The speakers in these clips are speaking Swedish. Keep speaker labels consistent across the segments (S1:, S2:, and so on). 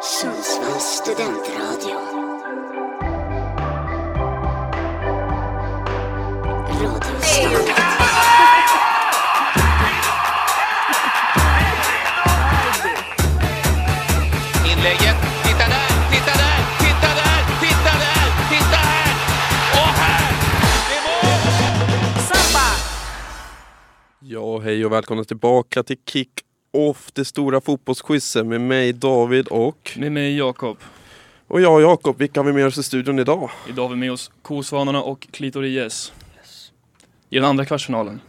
S1: Sundsvalls studentradio. Radiostaden.
S2: Inlägget. Titta där, titta där, titta där, titta där, titta här! Och här! Det är mål!
S3: Ja, hej och välkomna tillbaka till Kick-Off, det stora fotbollsquizet med mig David och...
S4: Med mig Jakob.
S3: Och jag och Jakob, vilka har vi med oss i studion idag?
S4: Idag har vi med oss Kosvanarna och Klitories. I den andra kvartsfinalen.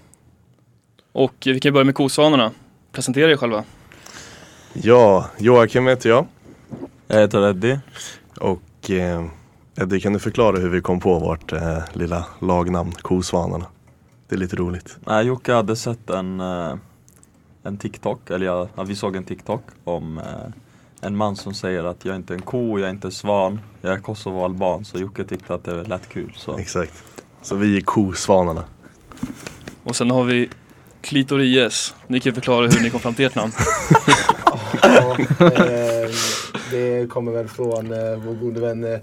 S4: Och eh, vi kan börja med Kosvanarna. Presentera er själva.
S5: Ja, Joakim heter jag.
S6: Jag heter Eddie.
S5: Och eh, Eddie, kan du förklara hur vi kom på vårt eh, lilla lagnamn Kosvanarna? Det är lite roligt.
S6: Nej, Jocke hade sett en, eh, en TikTok, eller jag, ja, vi såg en TikTok om eh, en man som säger att jag är inte en ko, jag är inte en svan, jag är kosovoalban. Så Jocke tyckte att det lät kul. Så.
S5: Exakt. Så vi är Kosvanarna.
S4: Och sen har vi Klitories. Ni kan förklara hur ni kom fram till ert namn.
S7: Ja, eh, det kommer väl från eh, vår gode vän eh,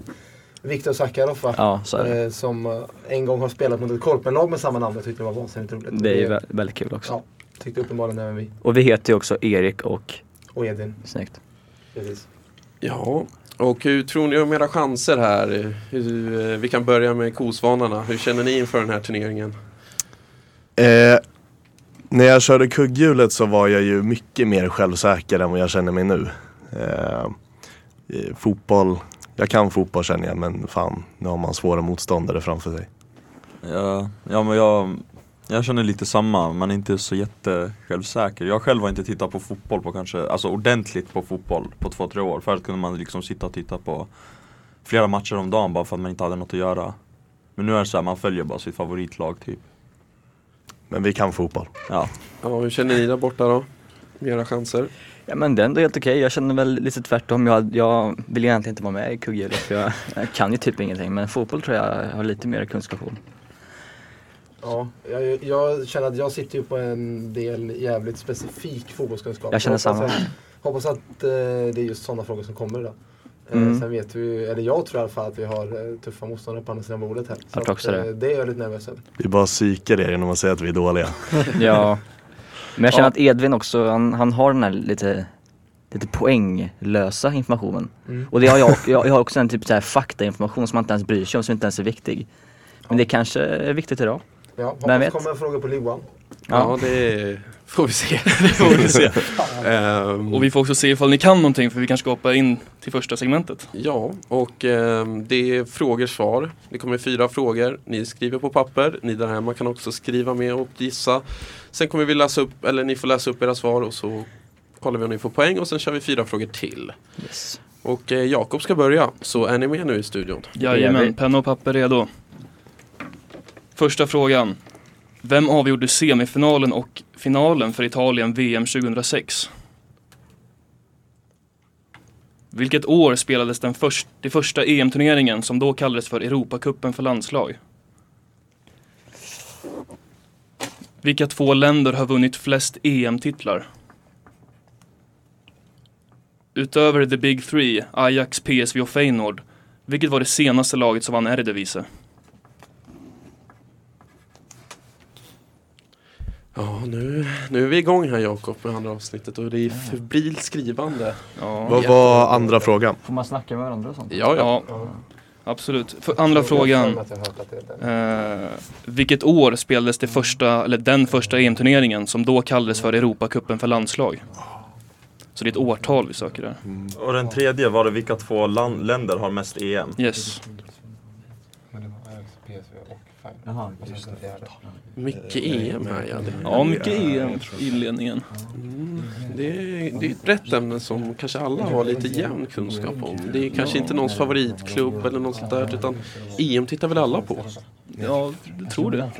S7: Viktor Sakharov va?
S8: Ja, så är det.
S7: Eh, som eh, en gång har spelat mot ett korpenlag med samma namn och tyckte det var vansinnigt roligt.
S8: Det är ju
S7: Det
S8: vä- väldigt kul också.
S7: Ja. tyckte uppenbarligen även vi.
S8: Och vi heter ju också Erik och...
S7: Och Edin.
S8: Snyggt.
S7: Precis.
S3: Ja, och hur tror ni om era chanser här? Hur, eh, vi kan börja med Kosvanarna. Hur känner ni inför den här turneringen?
S5: Eh, när jag körde kugghjulet så var jag ju mycket mer självsäker än vad jag känner mig nu. Eh, eh, fotboll, jag kan fotboll känner jag men fan, nu har man svåra motståndare framför sig.
S6: Ja, ja, men jag, jag känner lite samma, man är inte så jätte självsäker. Jag själv har inte tittat på fotboll på kanske, alltså ordentligt på fotboll på två, tre år. Förut kunde man liksom sitta och titta på flera matcher om dagen bara för att man inte hade något att göra. Men nu är det så här, man följer bara sitt favoritlag typ.
S5: Men vi kan fotboll.
S6: Ja.
S3: Ja, hur känner ni där borta då? Med era chanser?
S8: Ja men det är ändå helt okej. Jag känner väl lite tvärtom. Jag, jag vill egentligen inte vara med i kugghjulet för jag, jag kan ju typ ingenting. Men fotboll tror jag har lite mer kunskap om.
S7: Ja, jag, jag känner att jag sitter ju på en del jävligt specifik fotbollskunskap.
S8: Jag känner
S7: hoppas
S8: samma.
S7: Att, hoppas att eh, det är just sådana frågor som kommer idag. Eh,
S8: Mm.
S7: Sen vet vi, eller jag tror i alla fall att vi har eh, tuffa motståndare på andra sidan bordet här. Så
S8: Jag tror också
S7: att,
S8: det.
S7: eh, det är jag lite nervös över.
S5: Vi bara psykar er genom att säga att vi är dåliga.
S8: Ja. Men jag känner att Edvin också, han, han har den här lite, lite poänglösa informationen.
S7: Mm.
S8: Och det har jag, jag, jag har också en typ så här faktainformation som man inte ens bryr sig om, som inte ens är viktig. Men det kanske är viktigt idag.
S7: Ja,
S8: Vem
S7: hoppas
S8: vet?
S7: det kommer en fråga på Liwan.
S3: Ja, det får vi se. det får vi se. Ehm,
S4: Och vi får också se ifall ni kan någonting för vi kanske ska hoppa in till första segmentet.
S3: Ja, och ehm, det är frågor-svar. Det kommer fyra frågor. Ni skriver på papper. Ni där hemma kan också skriva med och gissa. Sen kommer vi läsa upp, eller ni får läsa upp era svar och så kollar vi om ni får poäng och sen kör vi fyra frågor till.
S8: Yes.
S3: Och eh, Jakob ska börja, så är ni med nu i studion?
S8: Det gör vi.
S4: Jajamän, penna och papper redo. Första frågan. Vem avgjorde semifinalen och finalen för Italien VM 2006? Vilket år spelades den först, det första EM-turneringen som då kallades för Europacupen för landslag? Vilka två länder har vunnit flest E EM-titlar? Utöver the big three, Ajax, PSV och Feyenoord, vilket var det senaste laget som vann Eredivisie?
S3: Ja, nu, nu är vi igång här Jakob med andra avsnittet och det är febrilt skrivande.
S4: Ja.
S5: Vad var andra frågan?
S8: Får man snacka med varandra och sånt?
S3: Ja, ja.
S4: ja, absolut. För andra frågan.
S7: Jag har för mig att jag har hört att det är den.
S4: Eh, vilket år spelades det första, eller den första EM-turneringen som då kallades för Europacupen för landslag? Så det är ett årtal vi söker där.
S6: Och den tredje var det vilka två land- länder har mest E EM?
S4: Yes.
S8: Jaha,
S3: Mycket EM här ja. Det,
S4: Ja, mycket E EM i inledningen.
S3: Mm. det, är, det är ett brett ämne som kanske alla har lite jämn kunskap om. Det är kanske inte någons favoritklubb eller något sånt där utan EM tittar väl alla på?
S4: Ja, jag tror det.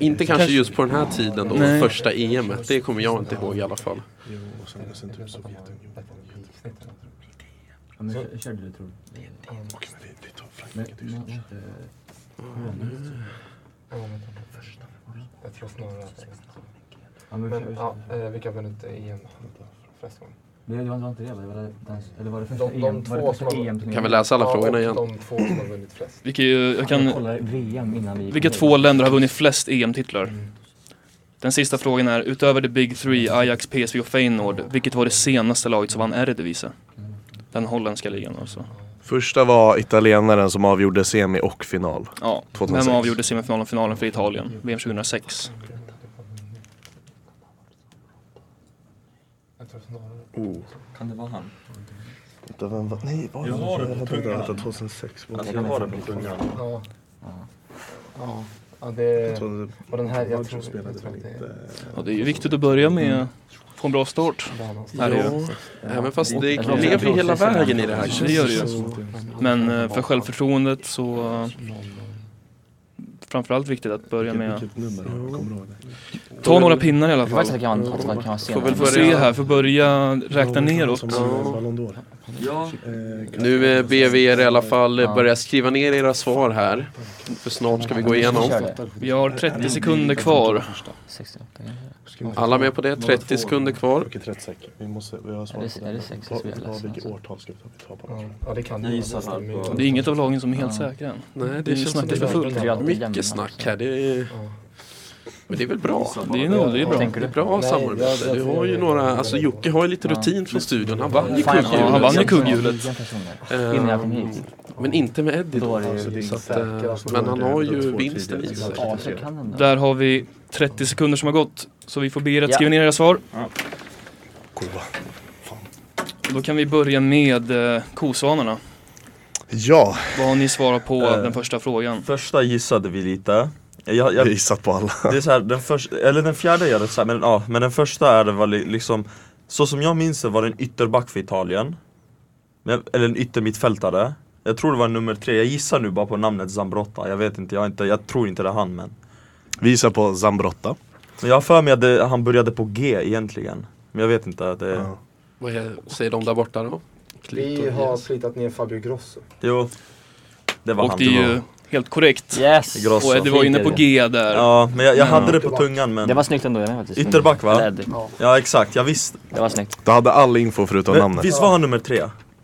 S3: Inte kanske just på den här tiden då,
S4: Nej.
S3: första EM. et. Det kommer jag inte ihåg i alla fall.
S7: Men, ja, eh, vilka har vunnit EM flest gånger?
S8: Det, det var det var inte det va? Det var det, den, eller var det första
S7: De- de
S8: EM? var det
S7: två
S8: första
S7: som har-
S8: EM-turneringen?
S3: Kan vi läsa alla
S7: Ja,
S3: frågorna
S7: och
S3: igen?
S7: De två som har vunnit flest.
S4: Vilka, ju- jag
S8: Jag
S4: kan,
S8: kollade VM innan vi gick
S4: vilka
S8: med.
S4: två länder har vunnit flest EM-titlar? Den sista frågan är, utöver the big three, Ajax, PSV och Feyenoord, vilket var det senaste laget som vann Eredivisie? Den holländska ligan alltså.
S5: Första var italienaren som avgjorde semi och final.
S4: Ja,
S5: 2006.
S4: vem avgjorde semifinalen och finalen för Italien? VM 2006.
S7: Jag tror snarare-
S6: Kan det vara han?
S5: Vem var, nej, var
S6: Jag har det på tungan.
S5: 2006.
S6: Alltså jag har det på tungan.
S7: Ja. Ja. Ja, det... Och den här, jag tror, jag tror att det är
S4: Ja, det är ju viktigt att börja med, få en bra start.
S7: där någonstans.
S4: Här är ju.
S3: Ja, även fast det
S8: Ja.
S3: klev ju hela vägen i det
S4: Det
S3: här.
S4: gör det ju. Men eh, för självförtroendet så eh, framförallt viktigt att börja med Ta några pinnar i alla
S8: Jag tror faktiskt
S4: fall.
S8: att det kan vara- att det kan vara senare.
S3: Får väl
S4: Får se här, för börja räkna neråt.
S6: Ja,
S3: Nu eh, ber vi er i alla fall eh, börja skriva ner era svar här. För snart ska vi gå igenom.
S4: Vi har 30 sekunder kvar.
S8: 68 kanske?
S3: Alla med på det? 30 sekunder kvar.
S5: Vi måste, vi har
S8: svar Är det- på är det den. sex? Vad- Jag vad- läser vilket alltså.
S5: årtal ska vi ta
S7: Ja, Ja, det kan
S6: Jag
S7: ju
S6: gissar
S7: vara
S6: här
S7: nästan
S6: på-
S4: Det är inget av lagen som är helt säkra än.
S3: Nej,
S4: Det är
S3: det
S4: ju
S3: känns som att det
S4: snacket
S3: är för
S4: för fullt.
S3: fullt.
S8: Det är alltid jämna,
S3: Mycket snack här. Det är... Men det är väl bra?
S4: Det är nog, det är
S8: Vad
S4: bra.
S8: tänker
S3: Det är
S8: du?
S3: bra
S7: Nej, jag-
S3: samarbete.
S7: jag
S3: Du
S7: tror
S3: har ju
S7: jag-
S3: några, alltså Jocke har ju lite
S8: Ja.
S3: rutin från studion. Han vann ju
S8: Fan, jag-
S4: Ja,
S3: kugghjulet.
S4: han vann ju kugghjulet.
S3: Ehm,
S8: Innan jag kom hit.
S3: Men inte med Eddie
S8: Då
S3: då.
S8: var det ju
S3: Så att, eh, men han har ju vinsten i sig.
S8: Ja, så kan den då.
S4: Där har vi 30 sekunder som har gått. Så vi får be er att skriva ner era svar. Då kan vi börja med eh, kosvanarna.
S5: Ja,
S4: Vad har ni svarat på
S6: Eh.
S4: den första frågan?
S6: första gissade vi lite. Jag,
S5: jag har
S6: jag,
S5: gissat på alla.
S6: det är så här, den första, eller den fjärde är det så här, men ja, men den första är det var li- liksom Så som jag minns det var det en ytterback för Italien Men- Eller en yttermittfältare Jag tror det var nummer tre, jag gissar nu bara på namnet Zambrotta Jag vet inte, jag, har inte, jag tror inte det är han men
S5: Vi gissar på Zambrotta.
S6: Men jag har för mig att det, han började på G egentligen Men jag vet inte, det,
S5: Ja.
S3: Vad är- säger de där borta då?
S7: Vi har plitat ner Fabio Grosso.
S6: jo Det var
S4: Och
S6: han
S4: det är ju helt korrekt.
S8: Yes!
S6: Grosso.
S4: Och Eddie var inne på G där.
S6: Ja, men jag, jag
S8: Men-
S6: hade det på tungan men
S8: Det var snyggt ändå Emil, faktiskt.
S6: Ytterback, va?
S8: Eller Eddie.
S6: Ja exakt, jag visste
S8: Det var snyggt.
S5: Du hade all info förutom
S6: Men
S5: namnet.
S6: Visst var han nummer tre?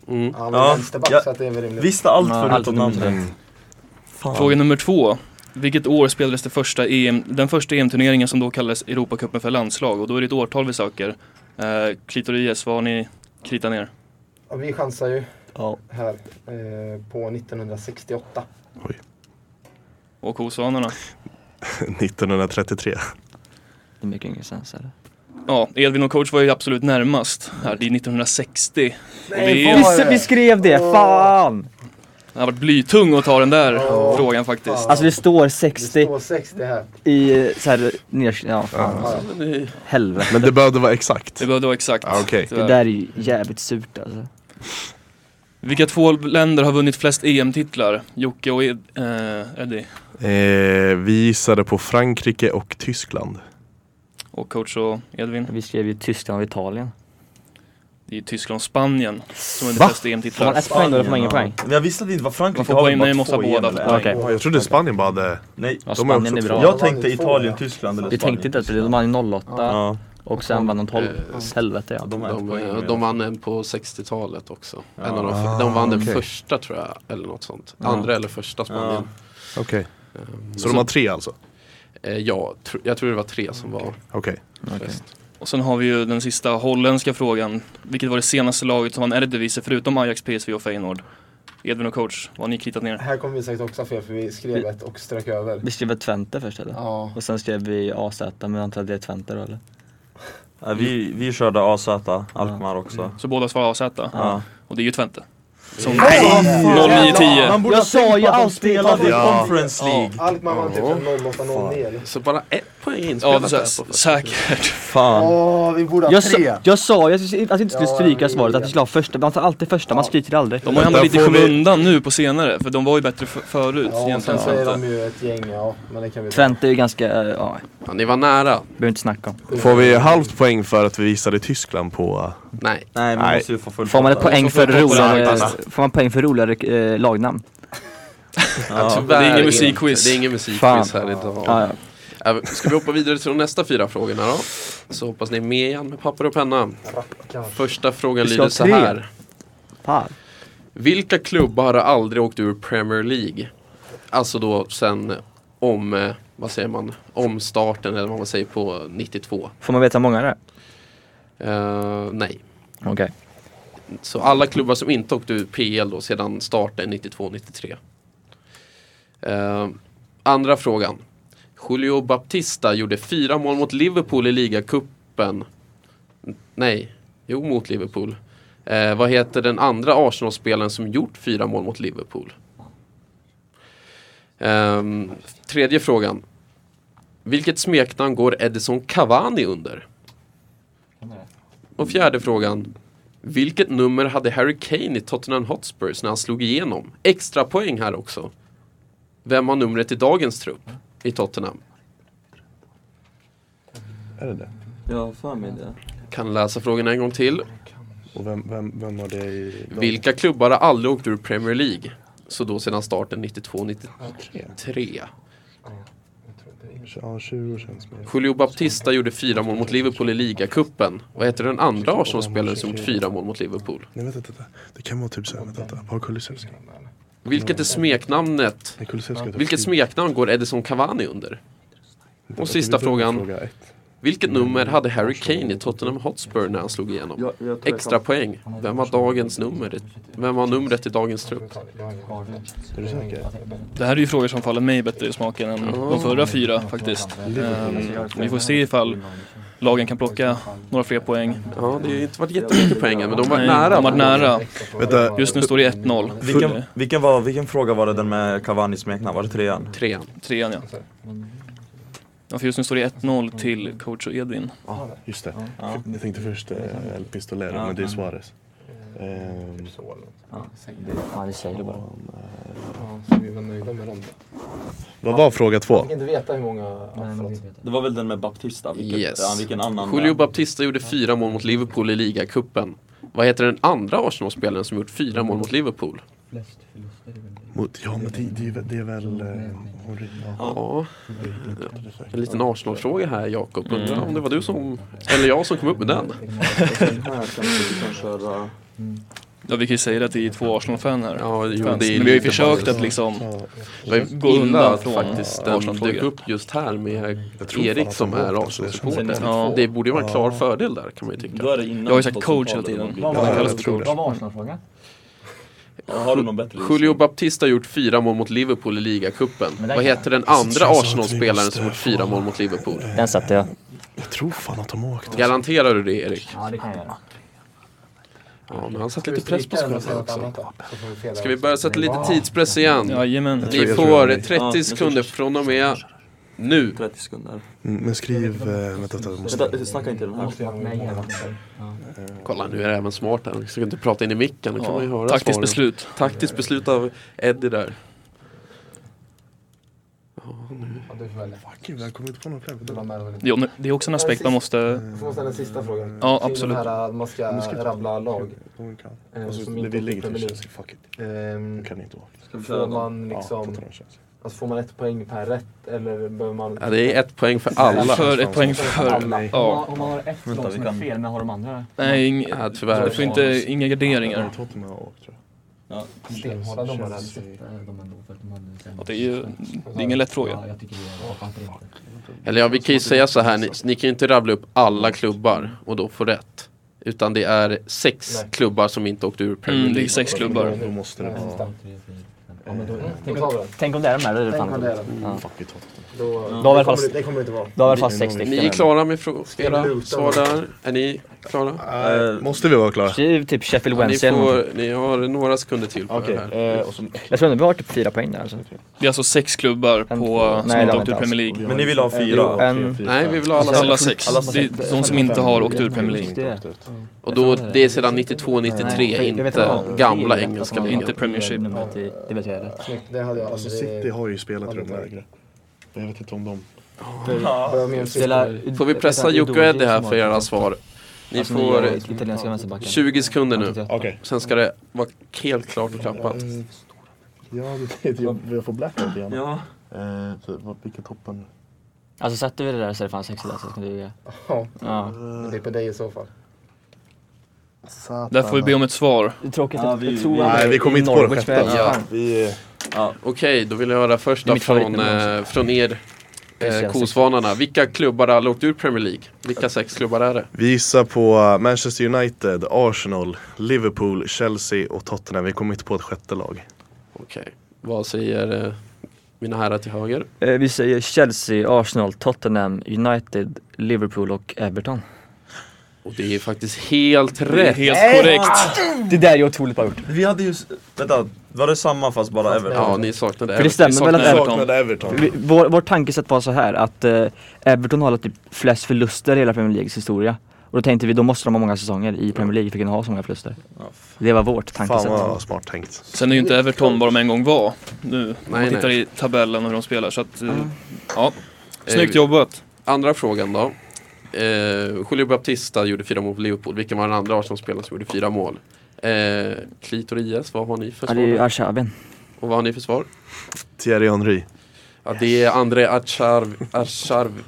S3: Mm.
S7: Ja,
S6: Ja,
S7: men vänsterback
S6: ja.
S7: så att det är väl rimligt.
S6: Visste allt
S8: Ja, allt
S6: förutom
S8: nummer tre.
S6: namnet Fan.
S4: Fråga nummer två. Vilket år spelades det första EM, den första EM-turneringen som då kallades Europacupen för landslag? Och då är det ett årtal vi söker. Eh, Klitoris, vad har ni kritat ner?
S7: Ja, vi chansar ju
S8: Ja.
S7: här eh, på 1968.
S4: Och kosvanarna?
S5: 1933.
S8: Det är mycket yngre sen så här.
S4: Ja, Edvin och coach var ju absolut närmast. Här, det är 1960. Och vi,
S7: fan.
S8: Vi, vi skrev det! Fan!
S4: jag har varit blytung att ta den där
S7: Ja.
S4: frågan faktiskt.
S7: Fan.
S8: Alltså det står
S7: Det
S8: 60
S7: står 60 här.
S8: i så här ner... Ja, fan. alltså.
S7: Ja,
S3: Men det-
S8: Helvete.
S5: Men det behövde vara exakt. Eh,
S4: Det behövde vara exakt.
S5: Ja, okej.
S8: Det
S4: tyvärr.
S8: där är ju jävligt surt alltså.
S4: Vilka två länder har vunnit flest EM-titlar? Jocke och Ed, eh, Eddie.
S5: Eh, vi gissade på Frankrike och Tyskland.
S4: Och coach och Edvin.
S8: Vi skrev ju Tyskland och Italien.
S4: Det är Tyskland och Spanien som har vunnit
S5: Va? alltså-
S4: flest E
S8: Får
S4: EM-titlar.
S8: man ett poäng då eller får man ingen poäng?
S6: Men jag visste att det inte var
S4: Man
S6: Frankrike
S4: får
S6: har
S4: poäng,
S6: väl bara
S4: nej, måste ha
S6: två
S4: båda.
S6: EM, eller?
S8: Okej.
S5: Jag trodde Spanien bara hade...
S6: Nej,
S8: Ja,
S5: De är
S8: Spanien
S5: också
S8: är
S5: två.
S8: bra.
S7: Ja,
S6: jag tänkte
S7: det är två,
S6: Italien,
S7: ja.
S6: Tyskland eller
S8: Vi tänkte inte att det, de vann ju 08
S6: Ja,
S8: och sen vann de 12. Helvete ja.
S6: de är ett
S3: De,
S6: poäng.
S3: eh, de vann en på 60-talet också.
S6: Ja.
S3: En av de,
S5: Ah,
S3: de vann den
S5: okej.
S3: första tror jag, eller något sånt. Andra eller första Spanien.
S5: Okej.
S3: Ehm,
S5: Så de har tre alltså?
S3: eh, ja, tr- jag tror det var tre som var
S5: Okej.
S3: bäst.
S4: Och sen har vi ju den sista holländska frågan. Vilket var det senaste laget som vann Eredivisie förutom Ajax, PSV och Feyenoord? Edvin och coach, vad har ni kritat ner?
S7: Här kommer vi säkert också ha fel för vi skrev ett och strök över.
S8: Vi skrev Twente först eller?
S7: Ja.
S8: Och sen skrev vi AZ men jag antar att det är Twente då eller?
S6: Ja, vi, vi körde AZ, Alkmaar också
S4: Så båda svarar AZ.
S6: ja.
S4: Och det är ju Twente. Som
S6: Man
S4: 0910.
S6: borde
S8: Jag
S6: ha
S8: sa
S6: tänkt
S8: ju
S6: på att de
S8: alltid
S6: spelade i
S5: Italien.
S6: Conference League
S7: Alkmaar vann typ en 0809.
S3: Så bara ett poäng
S4: Ja,
S3: inspelat
S4: det är
S3: där
S4: så-
S3: på första.
S4: säkert.
S6: Fan,
S7: Åh, vi borde
S8: Jag, sa- jag sa ju att vi- att vi inte skulle
S7: Ja,
S8: stryka
S7: vi-
S8: svaret, att vi skulle ha första, man tar alltid första, man stryker aldrig.
S4: De har ju hamnat
S5: Där
S4: lite i
S5: får vi-
S4: skymundan nu på senare, för de var ju bättre f- förut
S7: Ja, och sen
S4: egentligen
S7: så är
S4: Twente.
S7: de ju ett gäng, ja. Men det kan vi ta.
S8: Twente är ju ganska, eh, ja,
S3: Ja, ni var nära.
S8: behöver inte snacka om.
S5: Får vi halvt poäng för att vi visade Tyskland på...
S3: Nej.
S6: nej vi
S5: Nej.
S6: måste ju få full
S8: Får man ett
S6: potta.
S8: poäng
S4: så
S8: för
S4: får man hoppas
S8: roligare,
S5: att
S8: får man poäng för roligare eh, lagnamn?
S3: Ja,
S6: Ja.
S3: tyvärr
S4: det är ingen
S3: inte.
S4: musikquiz.
S3: Det är ingen musikquiz
S8: Fan.
S3: här idag.
S8: Ja, ja.
S3: Äh, Ska vi hoppa vidare till de nästa fyra frågorna då? Så hoppas ni är med igen med papper och penna.
S7: Rackarn.
S3: Första frågan
S9: Vi ska
S3: lyder
S9: ha
S3: så
S9: tre.
S3: här.
S9: Fan.
S3: Vilka klubbar har aldrig åkt ur Premier League? Alltså då sen om, eh, vad säger man, omstarten eller vad man säger på 92.
S9: Får man veta hur många det är?
S3: Eh, nej.
S9: Okej.
S3: Så alla klubbar som inte åkte ur PL då sedan starten 92-93. Eh, andra frågan. Julio Baptista gjorde fyra mål mot Liverpool i ligacupen. N- Nej, jo mot Liverpool. Eh, vad heter den andra Arsenal-spelaren som gjort fyra mål mot Liverpool? Ehm, tredje frågan. Vilket smeknamn går Edison Cavani under? Och fjärde frågan. Vilket nummer hade Harry Kane i Tottenham Hotspurs när han slog igenom? Extra poäng här också. Vem har numret i dagens trupp i Tottenham?
S5: Är det det?
S6: Jag har för mig det.
S3: Kan läsa frågan en gång till.
S5: Och vem, vem, vem har det i...
S3: Vilka klubbar har aldrig åkt ur Premier League? Så då sedan starten 92-93.
S5: Ja, 20 år känns mer.
S3: Julio Baptista gjorde fyra mål mot Liverpool i ligacupen. Vad heter den andra Arsenal-spelaren som gjort fyra mål mot Liverpool?
S5: Nej vänta, vänta. Det kan vara typ såhär, vänta, vänta. Var Kulusevski?
S3: Vilket är smeknamnet?
S5: Nej, Kulusevski har typ
S3: Vilket
S5: skrivit-
S3: smeknamn går Edison Cavani under?
S5: Vänta,
S3: Och
S5: vänta,
S3: sista
S5: vi börjar med
S3: frågan.
S5: Fråga ett.
S3: Vilket nummer hade Harry Kane i Tottenham Hotspur när han slog igenom? Extra poäng. Vem har dagens nummer? Vem har numret i dagens trupp?
S5: Är du säker?
S4: Det här är ju frågor som faller mig bättre i smaken än de förra fyra faktiskt. Ehm, vi får se ifall lagen kan plocka några fler poäng.
S3: Ja, det har ju inte varit jättemycket poäng än, men de var
S4: Nej,
S3: nära.
S4: De var nära.
S5: Vänta.
S4: Just nu står det 1-0.
S6: Vilken,
S4: Full-
S6: vilken, var, vilken fråga var det den med Cavanis smeknamn? Var det trean?
S3: Trean.
S4: Trean ja. Ja, för just nu står det 1-0 till coach och Edvin.
S5: Just det. För- Jag tänkte först eh, El Pistolero, men det är Suarez. Ehm,
S9: Ja, vi säger det bara.
S7: Så vi var nöjda med dem.
S5: vad var fråga två?
S7: Jag fick inte veta hur många... Ja, förlåt.
S6: Det var väl den med Baptista? Vilket,
S3: Yes.
S6: ja, vilken annan?
S3: Julio Baptista gjorde fyra mål mot Liverpool i ligacupen. Vad heter den andra Arsenal-spelaren som gjort fyra mål mot Liverpool?
S5: Mot, ja men det, det, är väl- det är väl... Eh, Henry, ja.
S3: Ja, en liten Arsenal-fråga här Jakob.
S9: Mm.
S3: Undrar om det var du som, eller jag som kom upp med den.
S4: Ja, vi kan ju säga det att vi är två Arsenal-fan här.
S3: Ja, jo,
S4: Fans.
S3: det är
S4: Men vi har ju
S3: lite
S4: försökt
S3: bara-
S4: att liksom
S3: Det var ju
S4: gå
S3: illa
S4: undan
S3: att
S4: från
S3: faktiskt den
S4: Arsenal-frågan.
S3: dök upp just här med
S5: tror fan
S3: Erik
S5: att
S3: som
S5: de åkte,
S3: är
S5: så det
S3: Arsenal-supporter.
S5: känns
S4: Ja.
S3: Det borde ju vara en klar fördel där kan man ju tycka.
S4: Jag har ju sagt coach hela tiden.
S7: Vad
S4: Han
S7: var
S4: kallas
S5: jag
S4: för
S5: tror
S4: coach.
S5: det.
S7: var Arsenal-frågan?
S6: Har du någon bättre?
S3: Julio Baptista har gjort fyra mål mot Liverpool i ligacupen. Vad heter den andra
S5: känns som att vi
S3: Arsenal-spelaren
S5: måste
S3: som gjort fyra mål mot Liverpool?
S9: Den satte jag.
S5: Jag tror fan att de åkte.
S3: Garanterar du det Erik?
S9: Ja, det kan jag göra.
S3: Ja, men han satte lite press på sig själv också.
S7: också.
S3: Ska vi börja sätta lite tidspress igen?
S4: Jajamän.
S5: tror
S3: Ni
S5: jag tror jag
S3: får
S5: är med.
S6: Ja,
S3: 30
S6: jag
S3: sekunder från och med nu.
S6: 30 sekunder.
S5: Mm, Men skriv... Eh, vänta, vänta, jag måste...
S6: Vänta, snacka inte i den här.
S3: Kolla, nu är det även smart här. Vi ska inte prata in i micken, då kan man ju
S4: Ja,
S3: höra
S4: taktiskt
S3: svaren.
S4: beslut.
S3: Taktiskt beslut av Eddie där.
S5: Gud, jag har kommit på någon fler. Vänta.
S4: Jo, men Det är också en aspekt man måste...
S7: Får man ställa en sista fråga?
S4: Ja,
S7: Kring
S4: absolut.
S7: den här, man ska
S5: Men skriv-
S7: rabbla lag.
S5: Någon kan.
S7: eh,
S5: Och så Alltså,
S7: som
S5: vi
S7: inte
S5: ligger
S7: åkte
S5: till
S7: med
S5: Chelsea, fuck it.
S7: Ehm,
S5: De kan inte åka.
S7: Får man liksom...
S5: Tottenham Chelsea.
S7: Alltså får man ett poäng per rätt eller behöver man...
S3: Ja, det är ett poäng för alla.
S4: För ett poäng för...
S5: Nej.
S4: Ja.
S9: Om man har ett
S6: Vänta,
S9: lag
S6: vi
S9: som är
S6: kan-
S9: fel, men har de andra?
S4: Nej, ing...
S3: Ja, Äh, tyvärr.
S4: Du får inte... Inga garderingar.
S5: Tottenham har åkt tror jag.
S7: Stenhårda domare. alltså.
S4: Ja, Det är ju... Det är ingen lätt fråga.
S3: Eller ja, vi kan ju säga så här, ni, ni kan ju inte rabbla upp alla klubbar och då få rätt. Utan det är sex
S7: Nej.
S3: klubbar som inte åkte ur Premier
S4: Mm, det
S3: League.
S4: är sex klubbar.
S5: Då måste
S6: Eh,
S5: det vara...
S7: Då tar vi den.
S9: Tänk om det är de här, då är det
S7: Tänk om
S9: fan
S7: det är den.
S9: Ja.
S5: Fuck it, Tottenham.
S7: Då, det,
S9: alla fall-
S7: kommer, det- det kommer det inte vara.
S9: Då har vi i alla fall sex
S3: Ni är
S9: stycken.
S3: klara med frå- era svar där? Är ni klara?
S5: Eh, måste vi vara klara?
S9: Skriv typ Sheffield
S3: Ja, ni,
S9: Wednesday eller någonting.
S3: får, ni har några sekunder till på det här.
S5: eh, och så-
S9: Jag tror ändå vi har typ fyra poäng där alltså.
S4: Det är alltså sex klubbar
S9: En,
S4: på...
S9: nej,
S4: som
S9: det
S4: inte
S9: har
S4: åkt
S9: vi inte
S4: ur Premier
S5: och
S4: League.
S5: vi har
S6: Men ni vill
S5: ju-
S6: ha fyra?
S9: En-
S3: Nej, vi vill ha alla
S4: Alla
S3: sex.
S4: sex. Det är de som inte har åkt ur Premier League.
S3: Och då, det är sedan 92-93, inte gamla engelska ligan.
S4: Inte Premiership.
S9: Det vet jag är rätt.
S7: Snyggt, det hade jag
S5: Alltså
S7: aldrig...
S5: City har ju spelat
S7: aldrig
S5: rum
S7: varit.
S5: lägre. Jag vet inte om de...
S7: Börja med en sista.
S9: Spelar-
S3: Får vi pressa
S9: spelar
S3: Jocke och Eddie här för era svar? Ni
S9: Alltså, nya
S3: får
S9: italienska vänsterbacken.
S3: 20 sekunder nu.
S9: Okej.
S5: Okej.
S3: Sen ska det vara helt klart och klappat.
S9: Mm,
S5: Eh, Ja, det vet jag. Jag får blackout igen.
S6: Ja.
S5: Eh, så vad- Vilka toppen?
S9: Alltså satte vi det där så det fanns sex där så ska det duga.
S7: Ja,
S9: Ja.
S7: men det är på dig i så fall.
S4: Där får vi be om ett svar.
S9: Det är tråkigt
S6: Ja,
S9: att
S6: vi-
S9: jag tror
S6: vi-
S9: att-
S5: Nej, vi kommer
S9: i
S5: inte på det
S9: Norwich
S5: sjätte.
S9: med-
S3: Ja.
S9: fan.
S5: Vi,
S3: Okej, då vill jag höra först
S9: Det är
S3: då
S9: mitt
S3: från,
S9: favoritnummer
S3: eh, från er
S9: Just
S3: eh,
S9: det,
S3: Kosvanarna. Vilka klubbar har åkt ur Premier League? Vilka sex klubbar är det?
S5: vi gissar på uh, Manchester United, Arsenal, Liverpool, Chelsea och Tottenham. Vi kommer inte på ett sjätte lag.
S3: Okej, vad säger eh, mina herrar till höger?
S8: Eh, Vi säger Chelsea, Arsenal, Tottenham, United, Liverpool och Everton.
S3: Och det är faktiskt helt
S4: Det är
S3: rätt.
S4: helt korrekt.
S9: Det där är ju otroligt bra gjort.
S6: Vi hade ju, s- vänta, var det samma fast bara Everton?
S3: Ja, ni saknade
S8: För det
S3: Everton.
S8: stämmer väl att
S4: saknar
S8: Everton...
S5: Saknade Everton.
S8: Vi- Vår, vår tankesätt var så här att eh, Everton har typ flest förluster i hela Premier Leagues historia. Och då tänkte vi då måste de ha många säsonger i Premier League för att kunna ha så många förluster. Det var vårt
S5: Fan
S8: tankesätt.
S5: vad smart tänkt.
S4: Sen är ju inte Everton vad de en gång var nu. Om man
S3: Nej,
S4: tittar
S3: nej.
S4: i tabellen och hur de spelar så att, eh, ja.
S3: Eh,
S4: Snyggt jobbat.
S3: Andra frågan då. Eh, Julio Baptista gjorde fyra mål för Liverpool. Vilken var den andra Arsenal-spelaren som gjorde fyra mål? Eh, Klitorias, vad har ni för
S8: Ja, det är ju
S3: svar?
S8: Arshavin.
S3: Och vad har ni för svar?
S5: Thierry Henry.
S3: Ja, det är André Acharv... Acharv.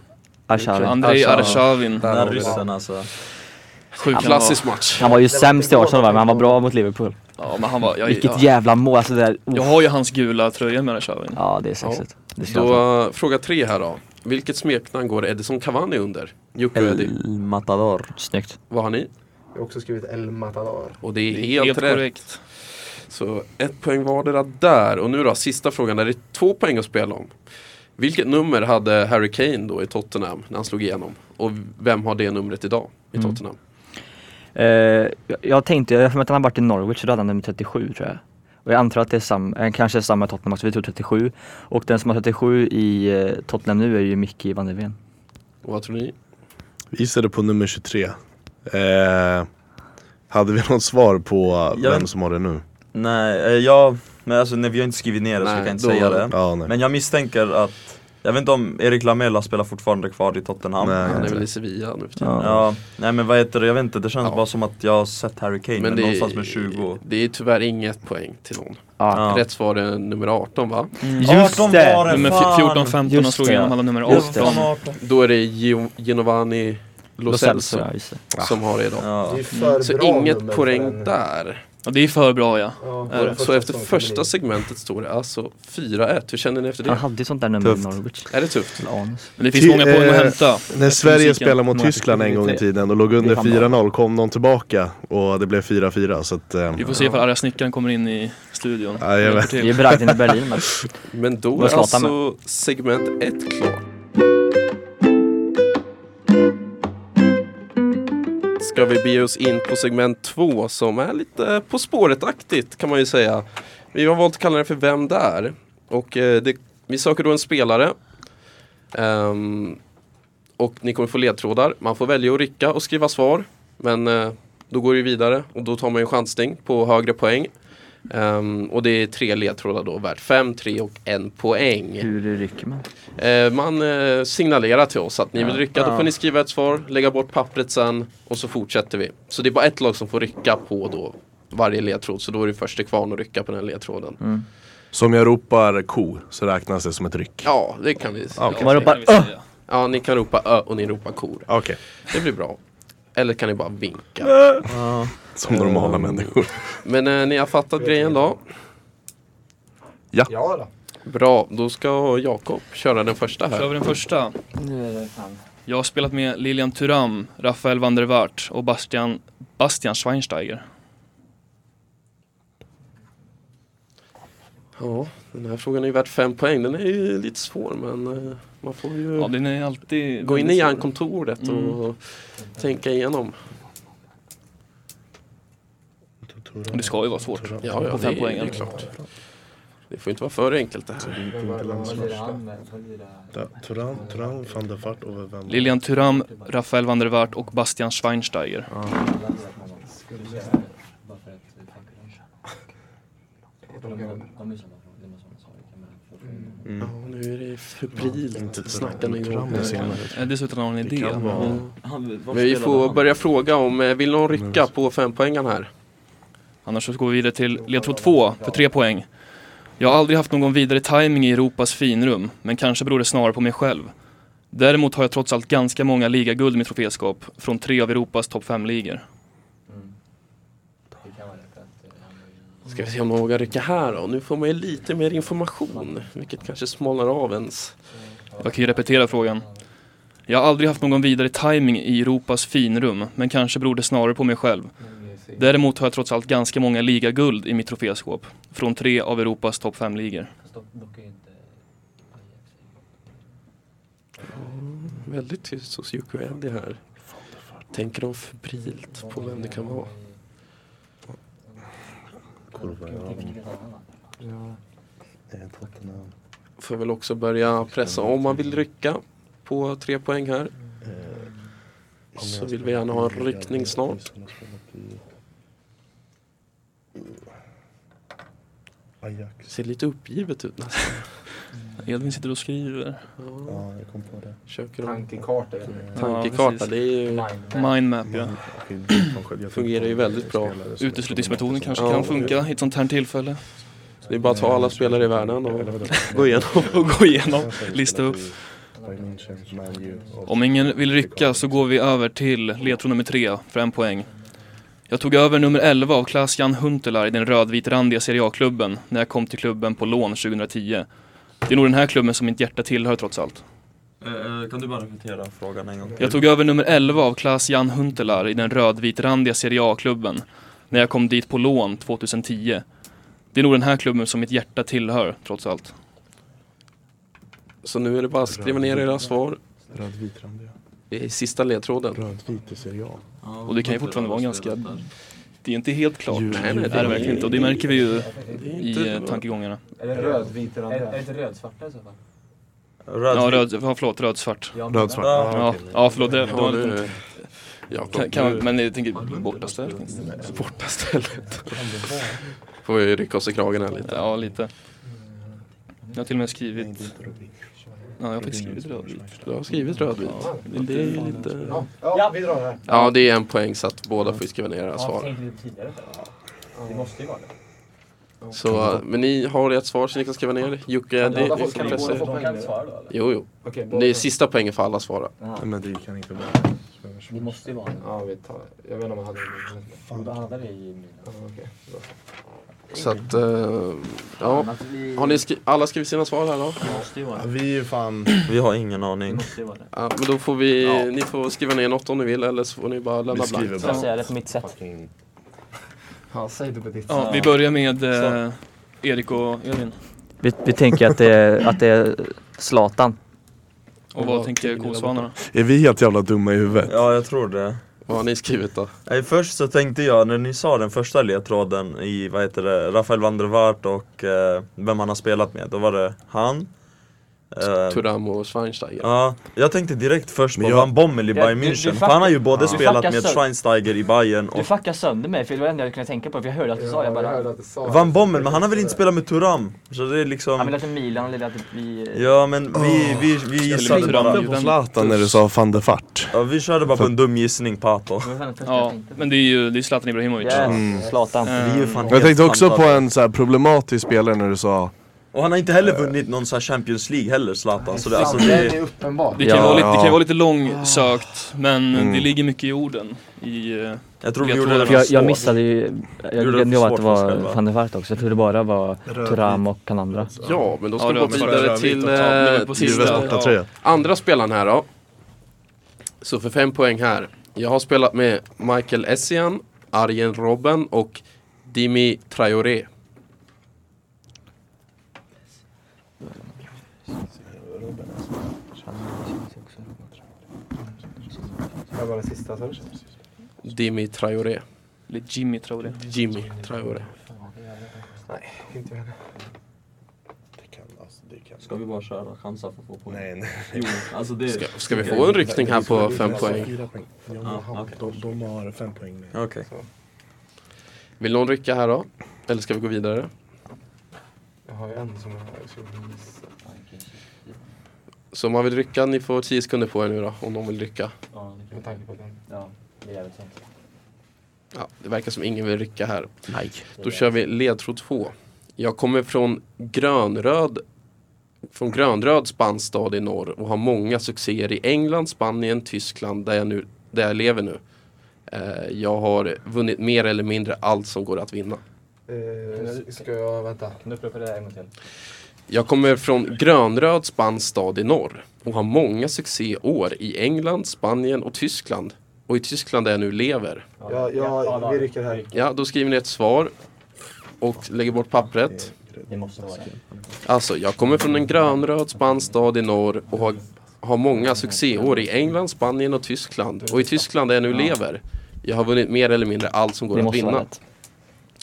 S8: Arshavin.
S4: Andrei
S3: Arshavin.
S4: Arshavin.
S6: Den
S3: Där har
S6: här
S3: vi det.
S6: ryssen alltså.
S4: Sjuk han var.
S3: Klassisk match.
S8: Han var ju
S7: Det var
S8: sämst i
S7: inte
S8: Arsenal va,
S7: bra.
S8: men han var bra mot Liverpool.
S4: Ja, men han var, jag,
S8: Vilket
S4: jag,
S8: jävla mål, alltså det där... oh.
S4: jag har ju hans gula tröja med Arshavin.
S8: Ja, det är sexigt. Det ska jag
S3: Så eh, fråga tre här då. Vilket smeknamn går Edison Cavani under? Jocke och Eddie,
S6: El Matador.
S8: ta. Snyggt.
S3: vad har ni?
S7: Jag har också skrivit El Matador.
S3: Och det är
S4: Det är
S3: helt, rätt.
S4: korrekt.
S3: Så ett poäng vardera där. Och nu då, sista frågan där det är två poäng att spela om. Vilket nummer hade Harry Kane då i Tottenham när han slog igenom? Och vem har det numret idag i
S8: Mm.
S3: Tottenham?
S8: Eh, jag, jag tänkte, jag har för mig att han har varit i Norwich så då hade han nummer 37 tror jag. Och jag antar att det är samma, kanske är samma i Tottenham också, vi tog 37. Och den som har 37 i eh, Tottenham nu är ju Micke van der Ven.
S3: Och vad tror ni?
S5: Vi gissade på nummer 23. Eh, hade vi något svar på uh,
S6: Ja.
S5: vem som har det nu?
S6: Nej, eh, jag, men alltså nej, vi har inte skrivit ner det så
S3: Nej,
S6: jag kan inte
S3: då-
S6: säga det.
S5: Ja, nej.
S6: Men jag misstänker att, jag vet inte om Erik Lamela spelar fortfarande kvar i Tottenham.
S5: Nej.
S3: Han är väl i Sevilla nu för tiden.
S8: Ja.
S6: Ja, nej men vad heter det, jag vet inte, det känns
S3: Ja.
S6: bara som att jag har sett Harry Kane men
S3: det,
S6: någonstans med 20
S3: det är tyvärr inget poäng till någon.
S6: Ja.
S3: Rätt svar är nummer 18 va?
S8: Just
S6: 18
S8: det!
S6: var det,
S4: Nummer
S6: fan!
S4: 14-15 han
S8: Just
S4: slog
S8: det.
S4: igenom, han var nummer
S8: Just
S4: 18.
S8: det.
S6: 18.
S3: Då är det Gio- Giovanni Lo Celso
S8: Ja, just det.
S3: som har det idag.
S6: Ja.
S7: Det är ju för
S3: Så
S7: bra
S3: inget
S7: nummer
S3: poäng
S7: för en-
S3: där.
S4: Ja, det är för bra ja.
S7: Ja,
S4: Är det?
S7: vår
S3: Så efter
S7: säsong
S3: första
S7: kan bli-
S3: segmentet står det alltså 4-1. Hur känner ni efter
S8: Han
S3: det?
S8: hade ju sånt där nummer i
S6: Tufft.
S8: Norwich.
S3: Är det tufft?
S8: Anus.
S4: Men det finns
S5: Ty-
S4: många poäng
S5: eh,
S4: att hämta.
S5: När Sverige
S4: musiken.
S5: spelade mot
S8: Några
S5: Tyskland en gång i
S8: sekunder.
S5: tiden och låg under
S8: Det kan
S5: 4-0 kom de tillbaka och det blev 4-4 så att... Eh,
S4: Vi får se ifall arga snickaren kommer in i studion.
S5: Ja, jag vet.
S8: Det är Bragden i Berlin men
S3: Men då
S8: Vad
S3: är
S8: slår han
S3: alltså segment 1 klart. Ska vi bege oss in på segment 2 som är lite På spåret-aktigt kan man ju säga. Vi har valt att kalla det för Vem där? Och eh, det, vi söker då en spelare. Ehm, och ni kommer få ledtrådar. Man får välja att rycka och skriva svar. Men eh, då går det ju vidare och då tar man ju en chansning på högre poäng. Ehm, och det är tre ledtrådar då värt fem, tre och en poäng.
S8: hur rycker man?
S3: Eh, man eh, signalerar till oss att ni vill rycka, då
S6: Ja.
S3: får ni skriva ett svar, lägga bort pappret sen och så fortsätter vi. Så det är bara ett lag som får rycka på då varje ledtråd, så då är det först till kvarn att rycka på den ledtråden.
S6: Mm.
S5: Så om jag ropar ko så räknas det som ett ryck.
S3: Ja, det kan vi ja,
S8: Man ropar
S4: Det kan vi
S8: "Öh!"
S4: säga.
S3: ja, ni kan ropa ö och ni ropar kor.
S5: Okej,
S3: Det blir bra. Eller kan ni bara vinka.
S5: som normala människor.
S3: Men eh, ni har fattat grejen då.
S7: Ja då.
S3: Bra, då ska Jakob köra den första
S4: Kör
S3: här.
S4: vi den första. Jag har spelat med Lilian Thuram, Rafael van der Waart och Bastian, Bastian Schweinsteiger.
S3: Ja, den här frågan är ju värt fem poäng. Den är ju lite svår men eh, man får ju
S4: Ja, den är Mm. alltid...
S3: gå in i hjärnkontoret och tänka igenom.
S4: Och Det ska ju vara svårt.
S3: Ja, ja det,
S4: På fem
S3: är-
S4: poäng,
S3: det är
S4: eller?
S3: klart. Det får inte vara för enkelt det här.
S5: Turan, Turan, van der Fart och vem?
S4: Lilian Thuram, Rafael van der Waart och Bastian Schweinsteiger.
S3: Ja, nu är det febrilt snackande igång.
S4: Eh, Dessutom har hon en idé.
S3: Men vi får börja fråga om, eh, vill någon rycka på fempoängaren här?
S4: Annars så går vi vidare till ledtråd 2 för 3 poäng. Jag har aldrig haft någon vidare timing i Europas finrum, men kanske beror det snarare på mig själv. Däremot har jag trots allt ganska många ligaguld i mitt troféskap från tre av Europas topp fem ligor.
S3: Ska vi se om man vågar rycka här då? Nu får man ju lite mer information, vilket kanske smalnar av ens.
S4: Jag kan ju repetera frågan. Jag har aldrig haft någon vidare timing i Europas finrum, men kanske beror det snarare på mig själv. Däremot har jag trots allt ganska många ligaguld i mitt troféskåp, från tre av Europas topp fem ligor.
S3: Väldigt tyst hos Yuki och Eddie här. Tänker de febrilt på vem det kan vara? Får väl också börja pressa om man vill rycka på tre poäng här. Så vill vi gärna ha en ryckning snart. Ser lite uppgivet ut nästan.
S4: Edvin sitter och skriver.
S3: Ja, jag kom på det. Försöker de
S7: Tankekarta.
S4: Ja,
S3: tankekarta?
S4: precis.
S3: Det är ju,
S4: Mindmap ja.
S3: fungerar ju väldigt bra.
S4: Uteslutningsmetoden kanske
S3: Ja.
S4: kan funka i ett sånt här tillfälle.
S3: Det är bara att ta alla spelare i världen och gå igenom.
S4: Och gå igenom, lista upp. Om ingen vill rycka så går vi över till ledtråd nummer tre för en poäng. Jag tog över nummer 11 av Klaas-Jan Huntelaar i den rödvitrandiga Serie A-klubben när jag kom till klubben på lån 2010. Det är nog den här klubben som mitt hjärta tillhör trots allt.
S6: Eh, kan du bara repetera frågan en gång till?
S4: Jag tog över nummer 11 av Klaas-Jan Huntelaar i den rödvitrandiga Serie A-klubben när jag kom dit på lån 2010. Det är nog den här klubben som mitt hjärta tillhör trots allt.
S3: Så nu är det bara att skriva ner era svar. Det är sista ledtråden.
S5: Rödvit i Serie A.
S4: Och det kan ju fortfarande vara ganska... Det är inte helt klart.
S5: Ju-
S3: Nej, nej,
S4: Det är det verkligen inte och det märker vi ju
S3: Det är
S4: i eh,
S3: inte bra.
S4: tankegångarna.
S7: Eller rödvit eller
S9: inte rödsvarta i så fall?
S6: Röd,
S4: Ja, röd, ja, förlåt, rödsvart.
S5: Rödsvart.
S6: Alltså- Ja.
S4: Ja, ja förlåt, det, det
S3: Ja,
S4: var
S3: nu,
S4: lite, kan,
S3: Jakob,
S4: kan,
S3: nu
S4: men jag tänker bortaställd. kanske.
S3: borta stället. Får vi rycka oss i kragen här lite.
S4: Ja, lite. Jag har till och med skrivit... Ja, jag har faktiskt skrivit rödvit.
S3: Du har skrivit rödvit. Men det är ju lite...
S7: Ja, vi drar här.
S3: Ja, det är en poäng så att båda får skriva ner era svar.
S9: Det måste ju vara det.
S3: Så, men ni har ert svar så ni kan skriva ner. Jocke, det
S7: Båda får-
S3: får
S7: kan vi båda
S3: pressa
S7: få
S3: er.
S7: poäng nu?
S9: svara då eller?
S3: Jo, jo.
S7: Okej, båda
S3: Det är
S7: får-
S3: sista poängen för alla att svara.
S5: Men det kan inte vara.
S9: Det måste ju vara det.
S7: Ja, vi tar Jag vet inte om han hade...
S9: Då handlar det i...
S7: Ja, okej. Bra.
S3: Så att, eh, ja. Har ni skri- alla skrivit sina svar här då?
S9: Det måste ju vara det.
S5: Vi är ju fan...
S6: Vi har ingen aning.
S9: Det måste ju vara det.
S3: Ja, men då får vi, ni får skriva ner något om ni vill eller så får ni bara lämna
S5: Vi skriver
S3: blankt.
S9: Ska jag säga det på mitt sätt?
S7: Ja, säg det på ditt
S4: Ja, vi börjar med eh, Erik och Edvin.
S8: Vi, vi tänker att det är, att det är Zlatan.
S4: Och vad tänker Kolsvanarna?
S5: Är vi helt jävla dumma i huvudet?
S6: Ja, jag tror det.
S3: Vad har ni skrivit då?
S6: Nej, först så tänkte jag, när ni sa den första ledtråden i, vad heter det, Rafael van der Waart och eh, vem han har spelat med, då var det han eh,
S3: Turam och Schweinsteiger.
S6: Ja, jag tänkte direkt först på
S5: Men jag-
S6: Van Bommel i
S9: Ja,
S6: Bayern
S9: du- du
S6: München,
S9: fuck-
S6: för han har ju både
S9: Ja. Du
S6: spelat
S9: fuckar
S6: med
S9: sönder-
S6: Schweinsteiger i Bayern
S9: Du
S6: och
S9: fuckar sönder mig för det var det enda jag kunde tänka på för jag hörde att du sa det. Jag bara...
S7: att du sa det.
S6: Van Bommel, men han har väl inte spelat med Turam? Så det är
S9: Han
S6: liksom...
S9: ville till alltså Milan och ville att vi...
S6: Ja men vi, vi, vi gissade
S4: med
S6: bara,
S4: Thuram.
S5: på Zlatan när du sa van der Fart.
S6: ja, vi körde bara på en dum gissning på Ato.
S9: Det var fan det första jag
S4: Ja,
S9: tänkte på.
S4: men det är ju det är Zlatan
S9: Mm,
S4: Ibrahimovic.
S9: Yes, Zlatan.
S4: Eh,
S5: Mm. Jag tänkte också på en så här problematisk spelare när du sa
S6: Och han har inte
S5: Eh.
S6: heller vunnit någon så här Champions League heller Zlatan, så det, alltså, det
S7: är uppenbar.
S4: Det kan,
S5: Ja,
S4: vara lite, det kan
S5: ja.
S4: vara lite långsökt, men
S5: Mm.
S4: det ligger mycket i orden. I, eh,
S6: Jag tror vi
S4: Jag
S6: gjorde
S4: tror
S6: det
S4: att
S8: För jag,
S6: svårt.
S8: jag missade ju, jag
S6: Gjorde
S8: glömde
S6: det
S8: ju
S6: för
S8: att det
S6: svårt för oss
S8: var
S6: själva.
S8: van der Vaart också. Jag trodde bara var Thuram och han andra.
S3: Ja, men då ska
S4: Ja,
S3: vi
S4: det
S3: gå
S4: var bara
S3: vidare
S4: rödvit
S3: till,
S4: och tal. Nu är vi
S3: eh,
S4: på
S3: till
S4: sista.
S5: Juves
S3: eh,
S5: borta tröja.
S3: andra spelaren här då. Så för fem poäng här. Jag har spelat med Michael Essien, Arjen Robben och Dimi Traoré.
S7: Det var det sista sa du?
S3: Dimi Traoré.
S4: eller Jimmy tror jag det
S3: Jimmy Traoré.
S7: Inte jag.
S6: Ska vi bara köra chansa för att få poäng?
S5: Nej, nej.
S6: Jo, alltså det...
S3: Ska, ska vi få en ryckning här på fem poäng?
S6: Ja, okej.
S5: De, de har fem poäng med.
S6: Okej.
S3: Vill någon rycka här då? Eller ska vi gå vidare?
S7: Jag har ju en som jag skulle missa.
S3: Så om man vill rycka, ni får 10 sekunder på er nu då, om någon vill rycka.
S7: Med tanke på den.
S9: Ja, det är jävligt sant.
S3: Ja, det verkar som ingen vill rycka här.
S8: Nej.
S3: Då kör vi ledtråd 2. Jag kommer från grönröd från grönröd spansk stad i norr och har många succéer i England, Spanien, Tyskland där jag, nu, där jag lever nu. Eh, jag har vunnit mer eller mindre allt som går att vinna.
S7: Eh, ska jag vänta?
S9: Kan du upprepa det där en gång till?
S3: Jag kommer från grönröd spansk stad i norr och har många succéår i England, Spanien och Tyskland. Och i Tyskland där jag nu lever.
S7: Ja, ja, vi rycker här.
S3: Ja, då skriver ni ett svar och lägger bort pappret.
S9: Det måste vara det.
S3: Alltså, jag kommer från en grönröd spansk stad i norr och har, har många succéår i England, Spanien och Tyskland. Och i Tyskland där jag nu lever. Jag har vunnit mer eller mindre allt som går
S9: Det
S3: att
S9: måste
S3: vinna.
S9: vara rätt.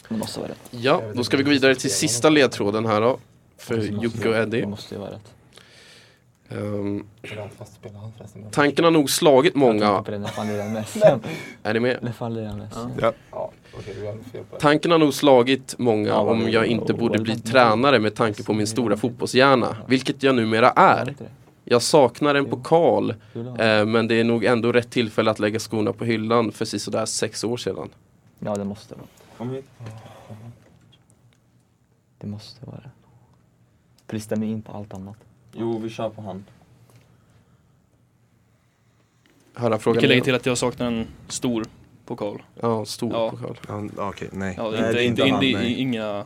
S9: Det måste vara rätt.
S3: Ja, då ska vi gå vidare till sista ledtråden här då. För Jocke och Eddie.
S9: Det måste ju vara rätt.
S3: Ehm,
S9: Fast spelar han förresten med?
S3: tanken har nog slagit många.
S9: På den, när fan lirar han mest? När
S3: Är ni med?
S9: fan lirar han mest?
S7: Ja, okej, du hade fel på det.
S3: Tanken har nog slagit många
S9: Ja, vad
S3: om
S9: vi-
S3: jag inte
S9: oh,
S3: borde
S9: vad
S3: bli
S9: vi-
S3: tränare med tanke på min stora fotbollshjärna. Vilket jag numera är. Jag saknar en pokal. Eh, men det är nog ändå rätt tillfälle att lägga skorna på hyllan för sisådär sex år sedan.
S9: Ja, det måste vara.
S6: Kom hit.
S9: Det måste vara det. För det stämmer ju in på allt annat.
S6: Jo, vi kör på han.
S3: Höra
S4: Vi
S3: frågan.
S4: kan lägga
S3: igen.
S4: till att jag saknar en stor pokal.
S3: Ja, stor
S4: Ja.
S3: pokal.
S5: Ja, Okej, nej.
S4: Ja,
S6: Nej,
S4: inte,
S6: det är
S4: inte,
S6: inte
S4: inte,
S6: han, nej.
S4: inga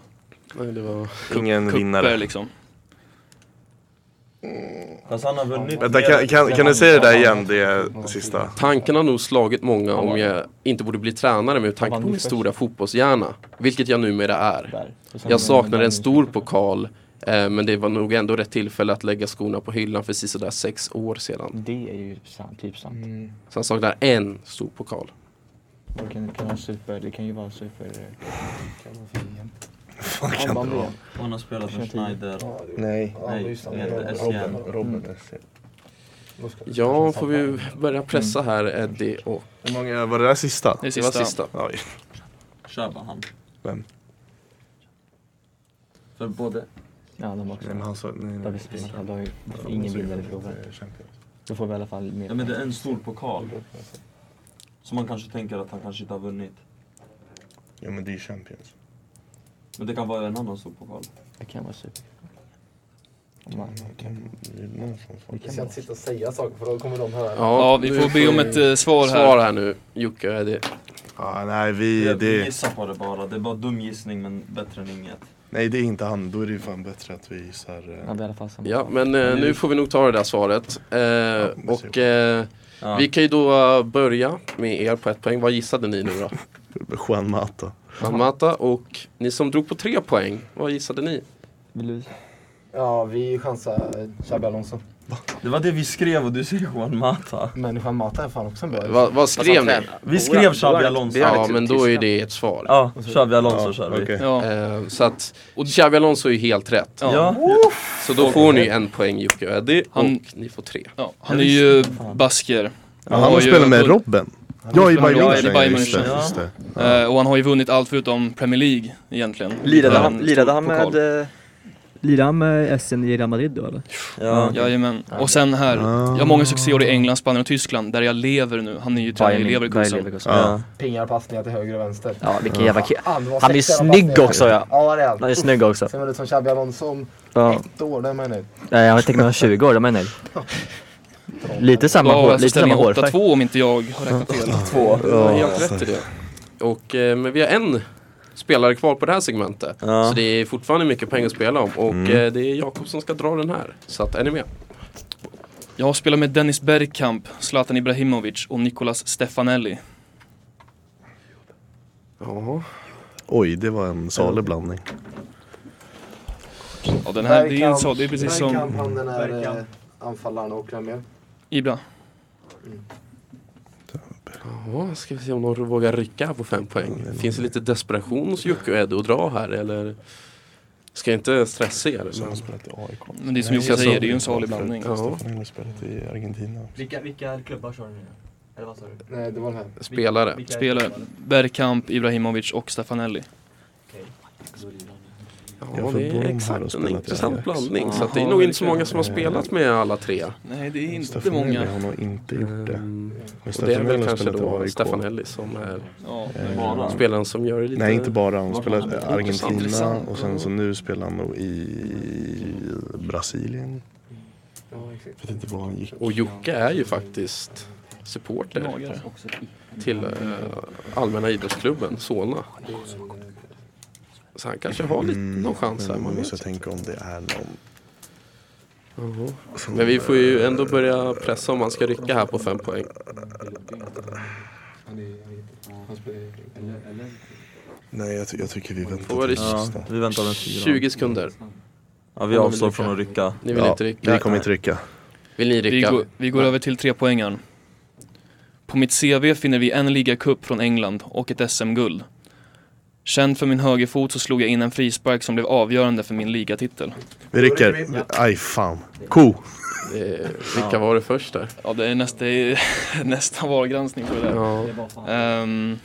S3: Nej, det var...
S5: Ingen
S4: kupper
S5: vinnare.
S4: liksom.
S6: Fast han har vunnit
S5: Vänta, kan, kan, kan du säga det där igen, det sista?
S3: Tanken har nog slagit många om jag inte borde bli tränare med tanke på min stora fotbollshjärna. Vilket jag numera är.
S9: Där. Och sen-
S3: Jag saknar en stor pokal. eh, Men det var nog ändå rätt tillfälle att lägga skorna på hyllan för sisådär sex år sedan.
S9: Det är ju sant, typ sant.
S3: Så han saknar en stor pokal.
S9: Det kan, kan vara super, det kan ju vara super...
S5: Fan, kan det vara?
S6: Han har spelat med Schneider.
S5: Nej.
S7: Ja,
S6: Nej,
S7: just det.
S6: med
S7: Robben.
S6: SCN.
S5: Robin
S7: Då ska-
S3: Ja, får vi börja pressa här Eddie och...
S5: Hur många, var det där sista?
S4: Mm. Det är
S3: Det var
S4: sista.
S3: sista.
S5: Oj.
S6: Kör på han.
S5: Vem?
S6: För både...
S9: Ja, de också.
S5: Nej, men han sa... Nej,
S9: Då har
S5: nej.
S9: vi spelat, då har ju ingen vinnare i frågan. Då får vi i alla fall mer.
S6: Ja men det är en stor pokal. Som man kanske tänker att han kanske inte har vunnit.
S5: Jo men det är ju Champions.
S6: Men det kan vara en annan stor pokal.
S9: Det kan vara super. Om man- Det
S7: Vi
S9: kan
S7: ska
S9: vara.
S7: inte sitta och säga saker för då kommer de höra.
S4: Ja, vi
S3: nu
S4: får be om ett eh, svar
S3: svar
S4: här.
S3: här nu, Jocke och Eddie.
S5: Ah, nej, vi,
S6: Vi
S5: det,
S6: gissar på det bara. Det är bara dum gissning men bättre än inget.
S5: nej, det är inte han. Då är det ju fan bättre att vi gissar...
S9: Ja, vi har
S5: eh,
S9: i alla fall samma.
S3: Ja, men eh, nu får vi nog ta det där svaret. Eh, och eh, vi kan ju då eh, börja med er på ett poäng. Vad gissade ni nu då?
S5: Juan Mata.
S3: Amata och ni som drog på tre poäng, vad gissade ni?
S9: Vill du?
S7: Ja, vi chansar eh, Xabi Alonso.
S6: Det var det vi skrev och du säger Juan Mata.
S7: Människan Mata är fan också en bra.
S3: Va, vad skrev ni?
S6: Vi skrev Xabi Alonso.
S3: Ja, men då är det ert svar.
S6: Ja, Xabi Alonso kör vi.
S5: okej.
S4: Ja.
S3: Eh, så att Xabi Alonso är ju helt rätt.
S6: Ja.
S3: Så då får ni en poäng Jocke och Eddie
S4: Han-
S3: och ni får tre.
S4: Ja, han är ju basker.
S5: Ja, han
S4: ju
S5: har spelat med
S4: vunnit-
S5: Robben. Ja, i
S4: spelat med-
S5: Bayern
S4: ja, i
S5: München.
S4: Bayern
S5: just det,
S4: München.
S5: just det.
S4: Eh, Och han har ju vunnit allt förutom Premier League egentligen.
S10: Lirade
S4: Utan
S10: han,
S4: en
S10: lirade
S4: stor
S10: han
S4: pokal.
S10: med... eh, Lirade han med SN i Real Madrid då eller?
S6: Ja.
S4: Jajamän. Och sen här, jag har många succéer i England, Spanien och Tyskland där jag lever nu. Han är ju tränare i Leverkusen.
S8: Leverkusen.
S5: Ja.
S7: Pingar passningar till höger och vänster.
S8: Ja, vilken jävla kille.
S9: Ah,
S7: Fan, det var
S8: Han är
S7: sex jävla
S8: snygg
S7: passningar.
S8: också, ja.
S7: Ja, det är han.
S8: Han är snygg också. Eh,
S7: Sen var det som Xabi Alonso om
S8: Ja.
S7: ett år, det menar jag.
S8: Nej, han var tänkt med 20 år, de är nöjd. Lite
S4: Då
S8: samma
S4: har
S8: hår,
S4: alltså
S8: lite samma
S4: ställningen
S8: hårfärg.
S4: 8-2 om inte jag har räknat fel.
S6: Två.
S3: Du har helt
S9: alltså.
S3: rätt i det. Och, eh, men vi har en spelare kvar på det här segmentet.
S6: Ja.
S3: Så det är fortfarande mycket pengar att spela om. Och
S9: Mm.
S3: eh, det är Jakob som ska dra den här. Så att, är ni med?
S4: Jag har spelat med Dennis Bergkamp, Zlatan Ibrahimovic och Nicolas Stefanelli.
S3: Ja.
S5: Oj, det var en salig blandning.
S4: Ja, den här, det är, en så, det är precis som
S7: Bergkamp, han den här eh,
S6: Bergkamp.
S7: anfallaren och vem mer?
S4: Ibra.
S3: ja, ska vi se om någon vågar rycka här på fem poäng. Finns det lite desperation hos Jocke och Eddie att dra här eller? Ska jag inte stressa er? Men...
S5: spelat i AIK.
S4: Men det är som Jocke säger, det är ju en salig blandning.
S3: Ja.
S5: har spelat i Argentina.
S9: Vilka, vilka klubbar kör du nu? Eller vad sa du?
S7: Nej, det var den här.
S3: Spelare.
S4: Spelare, Bergkamp, Ibrahimovic och Stefanelli.
S3: Ja, det
S9: Bournemouth
S3: är
S9: har
S3: exakt en
S9: spelat i
S3: intressant
S9: Ajax.
S3: blandning. Så
S4: Jaha,
S3: att det är nog inte så
S4: det är
S3: många som har spelat med alla tre.
S4: Nej, det är inte
S9: Staffan Helmer,
S4: många.
S9: han har inte gjort det.
S3: Ehm,
S9: Men
S3: Och det är
S9: Staffan
S3: väl
S9: Helmer har
S3: kanske
S9: spelat i
S3: då
S9: AIK.
S3: Stefan Hellis som är
S4: Ja,
S9: Eh,
S6: Bara.
S3: spelaren som gör det lite...
S9: Nej inte bara, han
S6: Vart
S9: spelar
S6: han
S9: i
S6: är.
S9: Argentina
S4: Intressant.
S9: och sen så nu spelar han nog i Brasilien. Jag vet inte var han gick.
S3: Och Jocke är ju faktiskt supporter
S4: gnagare.
S3: till eh, Allmänna Idrottsklubben Solna. Så han kanske har lite, någon chans här,
S9: men
S3: man
S9: man måste
S3: vet.
S9: tänka om det är någon.
S3: Jaha. Men vi får ju ändå börja pressa om man ska rycka här på fem poäng.
S9: Nej jag, ty- jag tycker vi väntar
S3: Får vara
S9: till
S3: det
S6: Ja,
S9: sista.
S6: vi väntar med fyra.
S3: 20 sekunder.
S6: Ja, vi avstår från att rycka.
S3: Ni vill
S9: Ja,
S3: inte rycka?
S9: Vi kommer inte rycka.
S3: Vill ni
S4: Vi
S3: rycka?
S4: går, vi går över till tre poängen. På mitt CV finner vi en ligacup från England och ett SM-guld. Känd för min högerfot så slog jag in en frispark som blev avgörande för min ligatitel.
S9: Vi rycker. Aj fan. Ko.
S3: Eh, vilka var det först där?
S4: Ja, det är, näst, det är nästan vargranskning på det där.
S3: Ja,
S4: Ehm,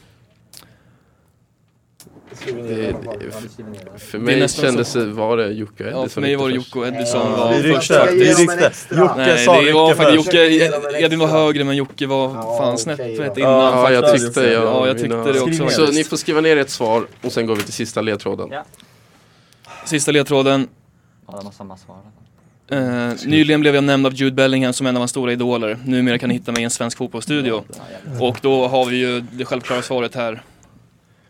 S3: det, det- för
S4: Det är
S3: mig
S4: nästan
S3: kändes det, var det Jocke och
S4: ja,
S3: Eddie
S4: för
S3: som
S4: mig var det
S3: ryckte
S4: Jocke och Edison var
S6: Vi
S4: först.
S6: ryckte, vi
S7: Ge dem en
S6: ryckte.
S7: extra.
S6: Jocke
S4: Nej,
S6: sa
S4: det var
S6: rycka
S4: faktiskt
S6: först.
S4: Jocke,
S7: Försökte ge dem en
S4: Edvin var
S7: extra.
S4: högre men Jocke var
S7: Ja,
S4: fan
S7: okej
S4: snäppet
S7: då.
S4: innan.
S3: Ja, jag
S4: faktiskt.
S3: tyckte, jag,
S4: ja, jag tyckte det också.
S6: Skriv
S3: Så
S4: faktiskt.
S3: ni får skriva ner ert svar och sen går vi till sista ledtråden.
S8: Ja.
S4: Sista ledtråden.
S8: Ja, de har samma svar.
S4: Eh, nyligen blev jag nämnd av Jude Bellingham som en av hans stora idoler. Numera kan ni hitta mig i en svensk fotbollsstudio. Och då har vi ju det självklara svaret här.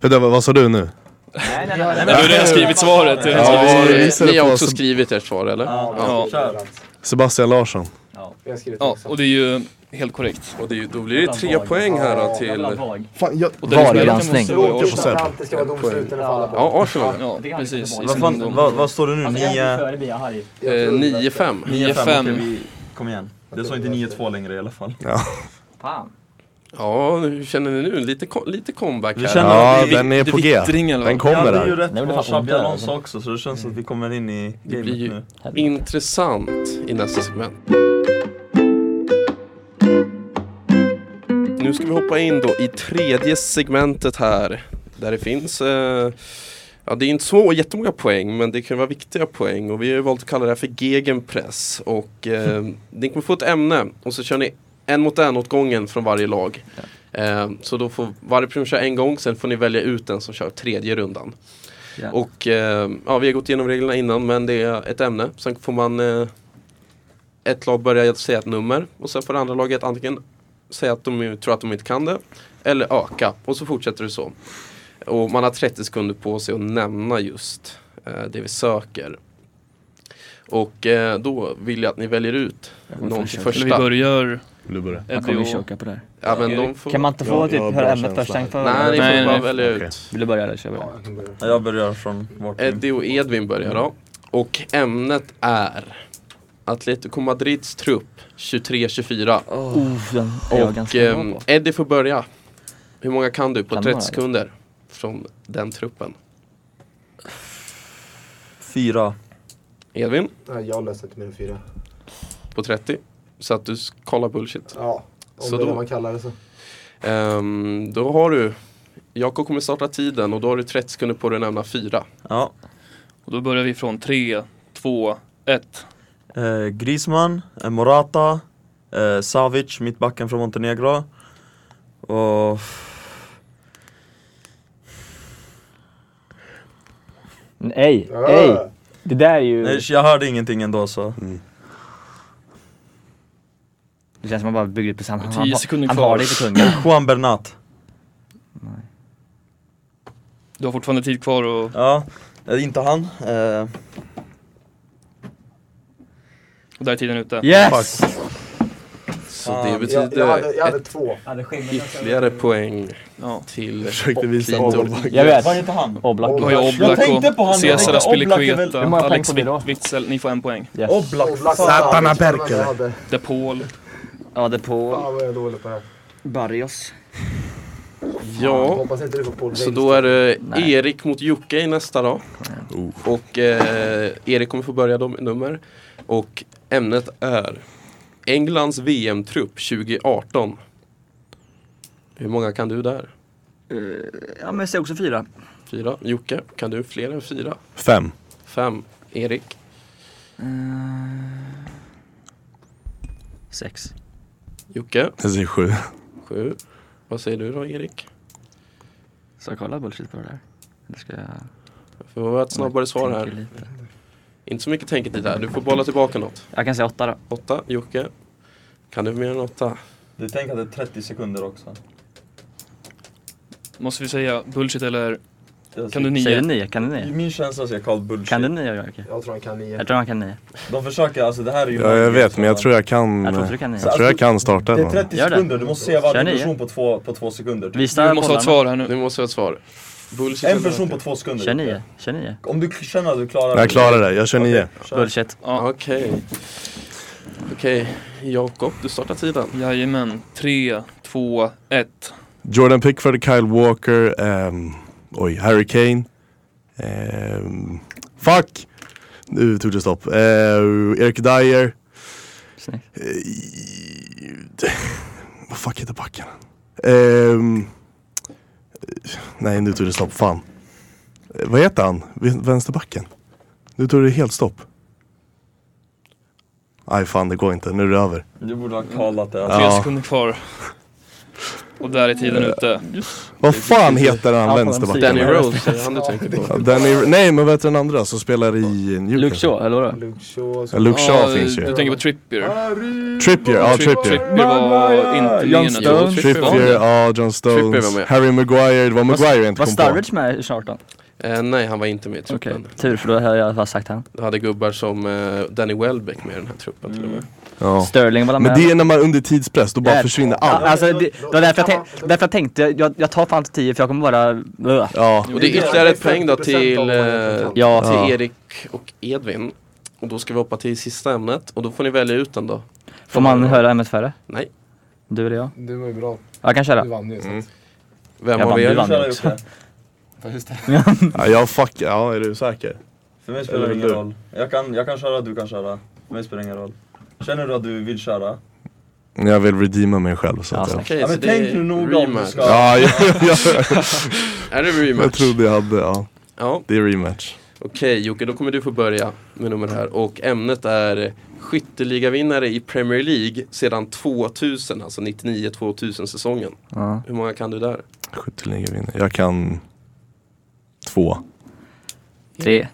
S5: Hur det var- Vad sa du nu?
S8: Nej, nej, nej.
S4: Men du har redan skrivit svaret. Du har redan
S3: Ja,
S4: skrivit svaret.
S3: ni,
S5: visar
S3: ni
S5: det
S3: har
S5: på
S3: också
S5: oss.
S3: skrivit ert svar eller?
S7: Ja,
S4: Ja.
S7: vi har skrivit
S5: Sebastian Larsson.
S7: Jag har skrivit
S4: Ja,
S7: också.
S4: och det är ju helt korrekt.
S3: Och det, då blir det tre poäng här då till...
S9: Fan jag...
S4: Och den som är rätt
S8: Vargranskning.
S4: måste vara
S9: Åker på Sepp.
S7: Allt det ska vara domslut eller falla på.
S3: Ja, Arsenal.
S4: Ja, precis. I
S6: Vad, fan,
S4: sin-
S6: vad, vad står det nu?
S8: Alltså,
S9: Alltså,
S6: 9...
S3: Eh, 9-5.
S6: 9-5.
S4: 9-5.
S6: vi... Kom igen. Det står inte 9-2 längre i alla fall.
S8: Fan.
S3: Ja, hur känner ni nu? Lite, co- lite comeback
S6: Vi
S3: här.
S6: känner
S5: Ja,
S6: att vi...
S5: den är
S4: Det
S5: på G.
S4: vittring eller vad?
S5: Den
S6: Vi
S5: kommer
S6: hade
S5: där.
S6: ju rätt
S8: Nej, men
S6: på
S8: det
S6: Shabby
S8: var ont där,
S6: Alonso också så det känns att vi kommer in i gamet
S3: blir ju-
S6: nu.
S3: Intressant i nästa segment. Nu ska vi hoppa in då i tredje segmentet här. Där det finns, eh, ja det är inte så jättemånga poäng men det kan vara viktiga poäng och vi har ju valt att kalla det här för gegenpress. Och eh, ni kommer få ett ämne och så kör ni en mot en åt gången från varje lag. Eh, så då får varje person köra en gång, sen får ni välja ut den som kör tredje rundan.
S6: Ja.
S3: Och eh, ja, vi har gått igenom reglerna innan men det är ett ämne. Sen får man eh, ett lag börja säga ett nummer och sen får det andra laget antingen säga att de ju tror att de inte kan det eller öka och så fortsätter det så. Och man har 30 sekunder på sig att nämna just eh, det vi söker. Och eh, då vill jag att ni väljer ut någon till
S4: Eller vi
S3: första.
S4: börjar
S9: Du börjar.
S8: Jag kommer
S4: Eddie och...
S8: choka på det här.
S3: Ja, men de får...
S8: Kan man inte få
S9: Ja, jag
S8: typ
S9: har
S8: höra
S9: bra
S8: ämnet
S9: känsla
S8: först? sen får-
S3: Nej, ni
S4: Nej,
S3: får bara
S4: nej.
S3: välja
S9: Okej.
S3: ut.
S8: Vill du börja eller kör jag?
S7: jag kan börja.
S6: Jag börjar från vart?
S7: Mm.
S6: nu?
S3: Eddie och Edvin börjar då. Och ämnet är Atletico Madrids trupp 23-24.
S8: Oh, den är jag
S3: Och
S8: ganska
S3: ehm,
S8: bra på.
S3: Eddie får börja. Hur många kan du på
S8: Kan man
S3: 30
S8: det?
S3: sekunder från den truppen?
S6: Fyra.
S3: Edvin
S7: Nej, jag löser inte mer än fyra.
S3: på 30. Så att du s- kollar bullshit.
S7: Ja, om
S3: Så
S7: det är
S3: då-
S7: vad man kallar det så.
S3: Ehm, då har du Jakob kommer starta tiden och då har du 30 sekunder på dig att nämna fyra.
S6: Ja.
S4: Och då börjar vi från 3, 2, 1.
S6: Eh, Griezmann, eh, Morata, eh, Savic, mittbacken från Montenegro. Och...
S8: Nej,
S7: Ja.
S8: nej. Det där är ju...
S6: Nej, jag hörde ingenting ändå så.
S5: Mm.
S8: Det känns som att man bara bygger på sand. Han, han,
S4: Tio
S8: har-
S4: sekunder
S8: han
S4: kvar.
S8: har det på tungan.
S6: Juan Bernat.
S4: Du har fortfarande tid kvar och
S6: Ja, eh, inte han. Eh,
S4: och där är tiden ute.
S8: Yes!
S3: Så
S6: Fan,
S3: det
S6: jag-
S3: betyder
S7: Jag, jag, hade, jag hade två.
S3: ytterligare poäng
S4: Ja.
S3: till
S9: Försökte visa
S3: Clinton.
S9: Oblak.
S8: Jag vet.
S6: var inte han?
S8: Oblak.
S4: Du har ju Oblak
S6: tänkte på
S4: och
S6: han, jag
S4: Cesar
S6: tänkte Oblak är väl-
S4: Aspilicueta,
S8: Hur många poäng
S4: Alex
S8: får vi då?
S4: Wit- Witzel, ni får en poäng.
S8: Yes.
S6: Oblak.
S7: Oblak och
S9: Satana
S7: Savic var de
S9: Berkele.
S7: jag hade.
S4: De Paul.
S8: Ja, det är på
S7: Fan vad jag är dålig på det här.
S8: Barrios.
S7: Jag
S3: Ja,
S7: hoppas inte du får Paul
S3: så då är det Erik mot Jocke i nästa dag.
S9: Oh.
S3: Och eh, Erik kommer få börja då med nummer. Och ämnet är Englands VM-trupp 2018. Hur många kan du där?
S8: Ja, men jag säger också fyra.
S3: Fyra. Jocke, kan du fler än fyra?
S5: Fem.
S3: Fem. Erik.
S8: Eh, Sex.
S3: Jocke.
S5: Jag säger sju.
S3: Sju. Vad säger du då Erik?
S8: Ska jag kolla bullshit på det där? Eller ska jag...
S3: För det var ett snabbare svar
S8: tänker
S3: här.
S8: lite?
S3: Inte så mycket tänketid här. Du får bolla tillbaka något.
S8: Jag kan säga åtta då.
S3: Åtta. Jocke. Kan du mer än åtta?
S6: Du tänker att det är 30 sekunder också?
S4: Måste vi säga bullshit eller
S6: Jag
S4: kan du nio?
S8: Säger du nio? Kan du nio?
S6: Min känsla är att jag kallar bullshit.
S8: Kan du nio Jörgen?
S7: Jag tror han kan nio.
S8: Jag tror han kan nio.
S6: De försöker, alltså det här är ju...
S5: Ja, jag vet, men jag tror jag kan,
S8: Jag tror
S5: jag
S8: inte du kan nio.
S5: tror jag kan starta
S6: Det är
S5: den.
S6: 30
S8: Gör det.
S6: sekunder, du måste se varje
S8: Kör nio.
S6: person på två, på två sekunder. typ.
S8: Visa
S4: Du måste ha ett
S8: bollarna.
S4: svar här nu.
S3: Nu måste jag ha ett svar. Bullshit
S6: En
S3: eller
S6: person
S3: rätt?
S6: på två sekunder.
S8: Kör nio. Kör nio.
S6: Om du känner att du klarar
S5: Jag klarar det, jag kör
S6: Okej,
S5: nio.
S6: kör.
S8: Bullshit.
S4: Ja,
S3: Okej. Okej, Jakob, du startar tiden.
S4: jajamän. Tre, två, ett.
S5: Jordan Pickford, Kyle Walker, ehm, oj, Harry Kane. Ehm, fuck! Nu tog det stopp. Eh, Eric Dyer.
S8: Snyggt.
S5: Eh, vad fuck heter backen? Ehm, nej, nu tog det stopp. Fan. Eh, vad heter han? Vän- Vänsterbacken? Nu tog det helt stopp. Aj fan, det går inte. Nu är det över.
S6: Du borde ha kallat det. Alltså,
S4: Tre
S5: Ja.
S4: sekunder kvar. Och där är tiden ute.
S5: Vad fan heter
S8: Ja,
S5: han
S8: fan,
S5: vänsterbacken?
S3: Danny Rose är det han du tänker på.
S5: Ja, Danny, nej men vad heter den andra som spelar i Newcastle?
S8: Luke Shaw, eller vadå?
S7: Luke Shaw.
S5: Ja, Luke Shaw
S4: Ja,
S5: finns
S4: Du
S5: ju.
S4: tänker på Trippier.
S5: Trippier, ja Trippier.
S4: Trippier var inte
S8: John
S4: med
S8: Stones.
S4: naturligtvis.
S5: Trippier, ja John
S3: Trippier var
S5: Stones.
S3: med.
S5: Harry Maguire, det var Maguire jag inte
S8: Var
S5: kom på.
S8: Sturridge med i 2018?
S3: Eh, nej, han var inte med i
S8: Okej,
S3: truppen.
S8: tur för då hade jag bara sagt han.
S3: Du hade gubbar som eh, Danny Welbeck med i den här truppen till och
S8: Mm.
S3: med.
S5: Ja.
S8: Sterling var med.
S5: Men det är när man är under tidspress, då bara
S8: Där.
S5: försvinner
S8: Ja,
S5: allt.
S8: Alltså, det, det var därför jag, tänk, därför jag tänkte, jag, jag tar fan inte 10 för jag kommer bara... Ugh.
S5: Ja,
S3: Och det är ytterligare ett poäng då till, eh,
S8: Ja.
S3: till Erik och Edvin. Och då ska vi hoppa till sista ämnet och då får ni välja ut den då.
S8: Får man höra ämnet färre?
S3: Nej.
S8: Du eller jag?
S7: Du var ju bra.
S8: Jag kan
S7: Du
S8: köra.
S7: vann ju. så att-
S3: Vem
S8: Jag
S3: av
S8: vann,
S3: er?
S8: du vann.
S6: Kör det, Jocke.
S7: Ja, just det.
S5: ja jag fuck, ja är du säker?
S6: För mig spelar det
S5: Eller
S6: ingen
S5: du.
S6: roll. Jag kan, jag kan köra, du kan köra. För mig spelar det ingen roll. Känner du att du vill köra?
S5: Jag vill redeema mig själv så
S8: Ja,
S5: att jag...
S8: snyggt.
S3: Okej,
S6: Ja,
S3: så
S6: men
S3: det
S6: tänk
S3: är
S6: nu noga om du
S3: rematch.
S6: ska...
S5: Ja, jag, jag,
S3: Är det
S5: jag
S3: rematch?
S5: trodde jag hade, ja.
S3: Ja,
S5: Det är rematch.
S3: Okej Jocke, då kommer du få börja med nummer här och ämnet är skytteligavinnare i Premier League sedan 2000, alltså 99-2000 säsongen.
S8: Ja.
S3: Hur många kan du där?
S5: 79 vinner. Jag kan två.
S8: Tre.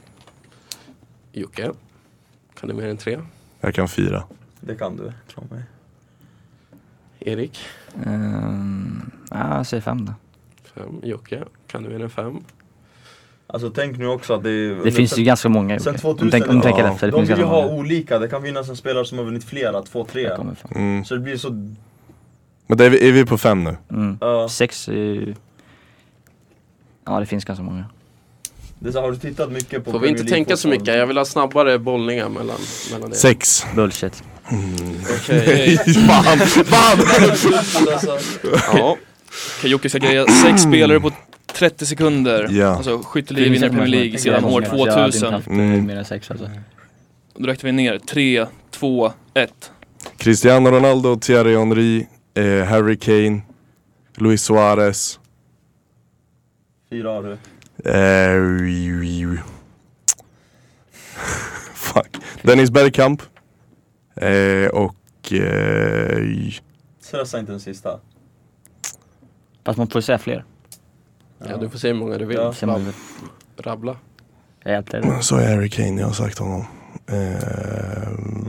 S3: Jocke? Kan du mer än tre?
S5: Jag kan fyra.
S6: Det kan du, tro mig.
S3: Erik?
S8: Ehm, ja, jag säger fem då.
S3: Fem. Jocke? Kan du mer än fem?
S6: Alltså tänk nu också att det är...
S8: Det finns ju ganska många.
S6: Sen
S8: Jocke.
S6: 2000
S8: Om tänk- om du tänker
S5: ja.
S8: efter, det
S6: De
S8: finns
S6: vill ju
S8: ganska
S6: ha E.
S8: många.
S6: olika, det kan finnas en spelare som har vunnit flera, två,
S8: Jag
S6: tre.
S8: kommer fram.
S5: Mm.
S6: Så det blir så...
S5: Men det är, vi, är vi på fem nu?
S8: Mm.
S6: ja.
S8: Sex är ju... Ja, det finns ganska många.
S6: det är så, har du tittat mycket på
S3: Får vi inte
S6: Premier
S3: tänka så
S6: League-fotboll?
S3: mycket? Jag vill ha snabbare bollningar mellan, mellan er.
S5: Sex.
S8: Bullshit.
S3: Okej,
S5: fan, fan!
S6: Alltså,
S3: ja.
S4: Okej, Jocke ska greja sex spelare på 30 sekunder.
S5: Ja.
S4: Alltså skytteliga vinner Premier League sedan år
S8: Jag hade inte
S4: 2000.
S8: haft
S5: Mm.
S8: mer än sex alltså.
S4: Då räknar vi ner. Tre, två, ett.
S5: Cristiano Ronaldo, Thierry Henry, eh, Harry Kane, Luis Suarez.
S6: fyra har du.
S5: Eh, ju- ju- fuck. Dennis Bergkamp. Eh, och... Eh, j-
S6: Stressa inte den sista.
S8: Fast man får ju säga fler.
S3: ja, du får säga hur många du vill.
S6: Ja.
S8: Sen man,
S3: Rabbla.
S8: jag hjälpte dig.
S5: så är Harry Kane, jag har sagt honom. Eh,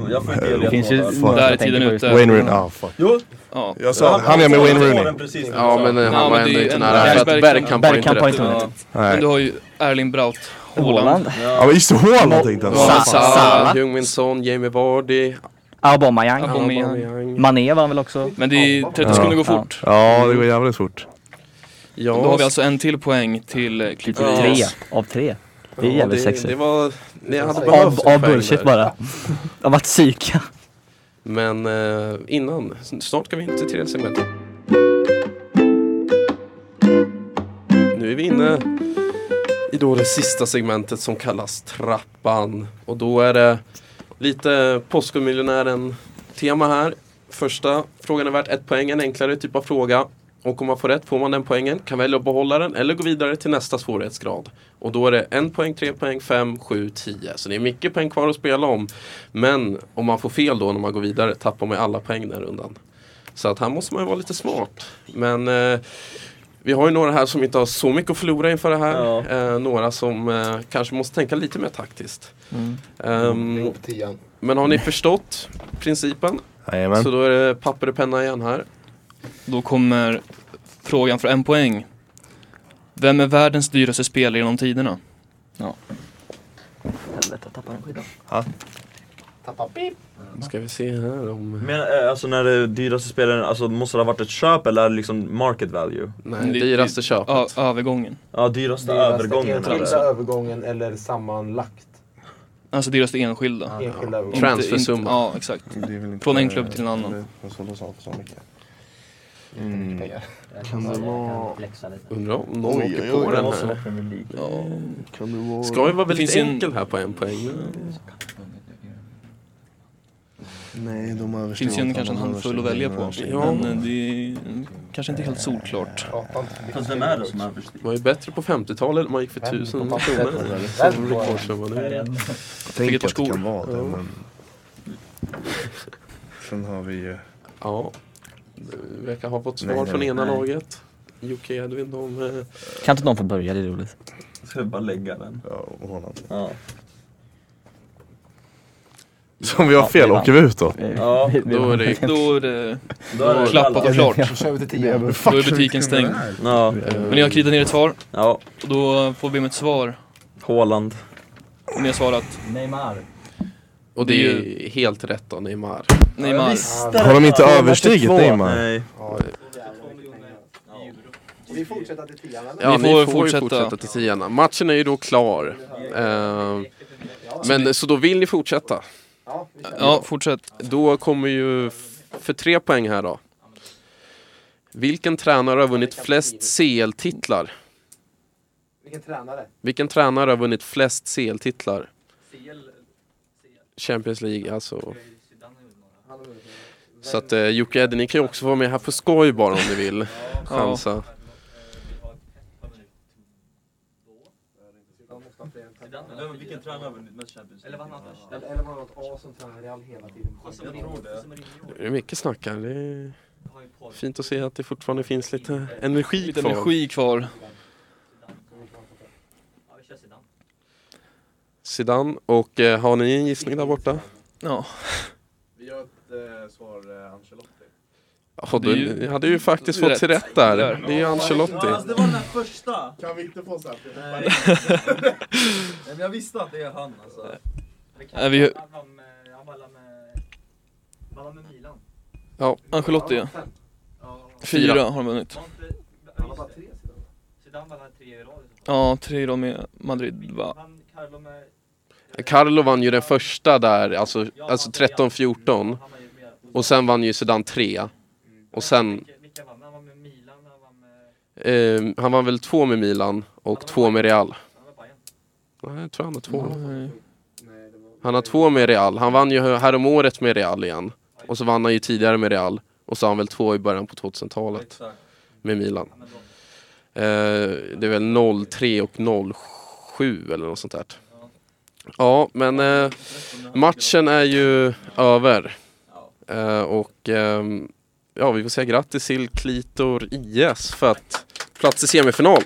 S6: Jag får inte ge
S8: Det finns ju...
S6: ledtrådar.
S5: Fan.
S4: Där är
S8: Jag tänker
S4: tiden
S8: på just-
S4: ute.
S5: Wayne Rooney, ah fuck.
S6: Jo!
S4: Ja.
S5: Jag sa, han är med Wayne Rooney.
S6: Precis,
S3: Ja, men eh,
S4: Ja,
S3: han var
S4: men det är
S3: ändå
S4: ju
S3: inte
S4: en-
S3: nära. För att
S4: Bergkamp-
S3: Bergkamp var inte
S8: Bergkamp var
S3: rätt.
S8: inte med.
S4: Ja. Men
S5: Nej.
S4: du har ju Erling Braut Haaland.
S8: Haaland.
S5: Ja men just Haaland tänkte jag.
S3: Ja,
S8: Sa- Sala.
S3: Salah, Heung-Min-Son, Jamie Vardy,
S8: Aubameyang.
S4: Aubameyang.
S3: Aubameyang.
S8: Mané var han väl också?
S4: Men det är 30
S5: Ja.
S4: sekunder går
S8: Ja.
S4: fort.
S5: Ja, det går jävligt fort.
S3: Ja,
S4: Då har vi alltså en till poäng till eh,
S8: Typ
S4: Klipperiet.
S8: tre av tre. Det är
S3: Ja,
S8: jävligt
S3: det, det
S8: sexigt.
S3: var, ni hade behövt
S8: Av,
S3: en
S8: av
S3: poäng
S8: bullshit
S3: där.
S8: bara. Av att psyka.
S3: Men eh, innan, snart ska vi in till tredje segmentet. Nu är vi inne i då det sista segmentet som kallas Trappan. Och då är det lite Postkodmiljonären-tema här. Första frågan är värt ett poäng, en enklare typ av fråga. Och om man får rätt får man den poängen, kan välja att behålla den eller gå vidare till nästa svårighetsgrad. Och då är det en poäng, tre poäng, fem, sju, tio. Så det är mycket poäng kvar att spela om. Men om man får fel då när man går vidare tappar man ju alla poäng den här rundan. Så att här måste man ju vara lite smart. Men eh, vi har ju några här som inte har så mycket att förlora inför det här.
S6: Ja.
S3: Eh, några som eh, kanske måste tänka lite mer taktiskt.
S8: Mm.
S3: Ehm,
S7: Det går på tian.
S3: men har ni förstått principen?
S5: Jajamän.
S3: Så då är det papper och penna igen här.
S4: Då kommer frågan för en poäng. Vem är världens dyraste spelare genom tiderna?
S8: Helvete, jag tappade den skiten.
S7: Tappa pip.
S3: Nu ska vi se här om...
S6: Men eh, alltså när det dyraste spelaren, alltså måste det ha varit ett köp eller är det liksom market value?
S3: Nej, Mm, dyraste köpet.
S4: Ja, övergången.
S6: Ja dyraste, Alltså, övergången
S7: enskilda
S6: eller?
S7: övergången eller sammanlagt.
S4: Alltså dyraste enskilda.
S7: Enskilda övergången.
S4: Inte-
S3: Transfersumma.
S4: inte- Ja, exakt.
S9: Det är väl inte-
S4: Från en klubb till en annan.
S9: Det är så kolossalt så mycket.
S3: Kan det vara... Undrar om någon
S9: Oj,
S3: åker
S9: oj,
S3: på
S9: oj,
S3: den
S9: vad så.
S3: här. Ja.
S9: Kan det vara...
S3: Ska ju vara väldigt
S4: finns en-
S3: enkel här på en poäng. men-
S9: Nej, de
S4: Det
S9: översteg
S4: finns ju en,
S9: allt
S4: kanske en
S9: annat,
S4: handfull att
S9: översteg
S4: välja på.
S9: översteg.
S3: Ja.
S4: Men eh, det är kanske inte helt solklart.
S7: Prata inte för mycket.
S6: Fast vem är det som är översteg?
S3: Man var ju bättre på 50-talet, man gick för
S7: Vem
S3: tusen
S7: på
S3: kronor.
S7: pappret? Vem
S3: Som
S7: på-
S3: rekordsumma nu.
S9: Tänk
S4: ett par
S9: att det
S4: skor.
S9: kan vara det,
S3: Ja.
S9: men... Sen har vi ju...
S3: Ja. Vi verkar ha fått
S9: Nej,
S3: svar
S9: nej,
S3: från ena
S6: nej.
S3: laget. Jocke Edvin, de... eh,
S8: Kan inte någon få börja, det är roligt.
S6: Ska jag bara lägga den?
S9: Ja, Holland.
S6: Ja.
S5: Så om vi har
S8: Ja,
S5: fel,
S8: det är
S5: åker vi ut då?
S6: Ja,
S3: Då är det...
S4: Då är det
S6: Då är det
S4: klappat och klart.
S7: Kör vi till tian.
S4: Då är butiken stängd.
S6: Ja,
S4: Men jag kritar ner ett svar
S6: ja.
S4: och då får vi med ett svar.
S6: Haaland.
S4: Om jag svarat
S8: Neymar.
S3: Och det är ju helt rätt av Neymar.
S4: Neymar.
S5: Har de inte överstigit
S7: 202?
S5: Neymar?
S6: Nej.
S7: Vi fortsätter till tian eller?
S3: Ja,
S4: Vi
S3: ni får
S4: får
S3: fortsätta.
S4: fortsätta.
S3: fortsätta till tiarna. Matchen är ju då klar. Eh, men så då vill ni fortsätta.
S7: Ja, vi kör.
S4: Ja, fortsätt.
S3: Då kommer ju f- för tre poäng här då. Vilken tränare har vunnit flest CL-titlar?
S7: Vilken tränare?
S3: Vilken tränare har vunnit flest CL-titlar? Champions League alltså. Så att eh, Jocke Edin, ni kan ju också vara med här på skoj bara om ni vill. Chansa.
S6: Vilken tränare har vunnit mest Champions League?
S7: Eller eller var det något A som tränar Real hela tiden?
S3: Det är mycket snack här. Det är fint att se att det fortfarande finns lite energi
S4: Lite
S3: kvar.
S4: energi kvar.
S3: Zidane. Och eh, har ni en gissning där borta?
S4: Ja,
S9: Vi har ett svar, Ancelotti.
S3: Ja,
S4: Det är
S3: du
S4: ju-
S3: ni hade ju faktiskt
S4: det är
S3: fått till
S4: rätt.
S3: rätt där.
S4: Där.
S3: Det är ju Ancelotti.
S6: var den där första!
S9: Kan vi inte få så här?
S6: Nej men jag visste att det är han alltså.
S4: är vi
S3: Ja,
S4: Ancelotti ja.
S3: Fyra.
S4: Fyra har de vunnit.
S7: Han har bara tre sidan.
S4: Ja, tre då med Madrid va?
S3: Carlo vann ju den första där, alltså, alltså 13-14. Och sen vann ju Zidane tre. Och sen... Eh, han vann väl två med Milan och två med Real. Nej, jag tror han har två.
S4: Nej.
S3: Han har två med Real. Han vann ju häromåret med Real igen. Och så vann han ju tidigare med Real. Och så har han väl två i början på 2000-talet med Milan. Eh, det är väl 03 och 07 eller något sånt där. Ja, men eh, matchen är ju över. Eh, och ehm, ja, vi får säga grattis till Klitor IS för att plats i semifinal.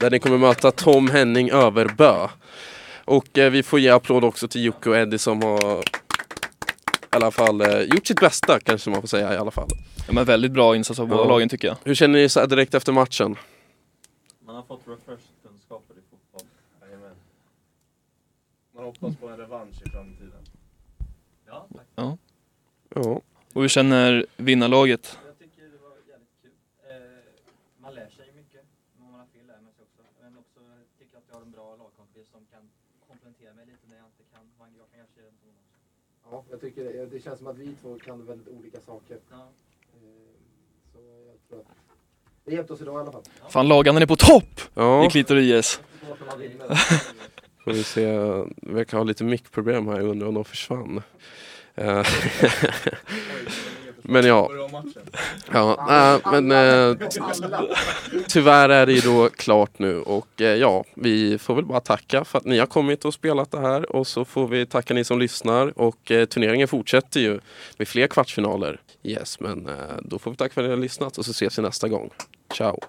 S3: Där ni kommer möta Tom Henning Överbö. Och eh, vi får ge applåd också till Jocke och Eddie som har i alla fall eh, gjort sitt bästa kanske man får säga i alla fall.
S4: Ja, men väldigt bra insats av båda
S3: Ja.
S4: lagen tycker jag.
S3: Hur känner ni så här direkt efter matchen?
S6: Man har fått refresh-kunskaper i fotboll.
S9: Man hoppas på en revansch i framtiden.
S3: Ja.
S4: Och hur känner vinnarlaget?
S7: Ja, jag tycker det, det känns som att vi två kan väldigt olika saker. Eh, Så jag tror att det hjälpte oss idag i alla fall.
S4: Fan, lagarna är på topp i
S3: Ja,
S4: Klitor IS.
S7: Svårt när man vinner.
S3: får vi se. Vi verkar ha lite mickproblem här, jag undrar om de försvann. Eh, Men ja. Ja, nej, men eh, tyvärr är det ju då klart nu och eh, ja, vi får väl bara tacka för att ni har kommit och spelat det här och så får vi tacka ni som lyssnar och eh, turneringen fortsätter ju med fler kvartsfinaler. Yes, men eh, då får vi tacka för att ni har lyssnat och så ses vi nästa gång. Ciao!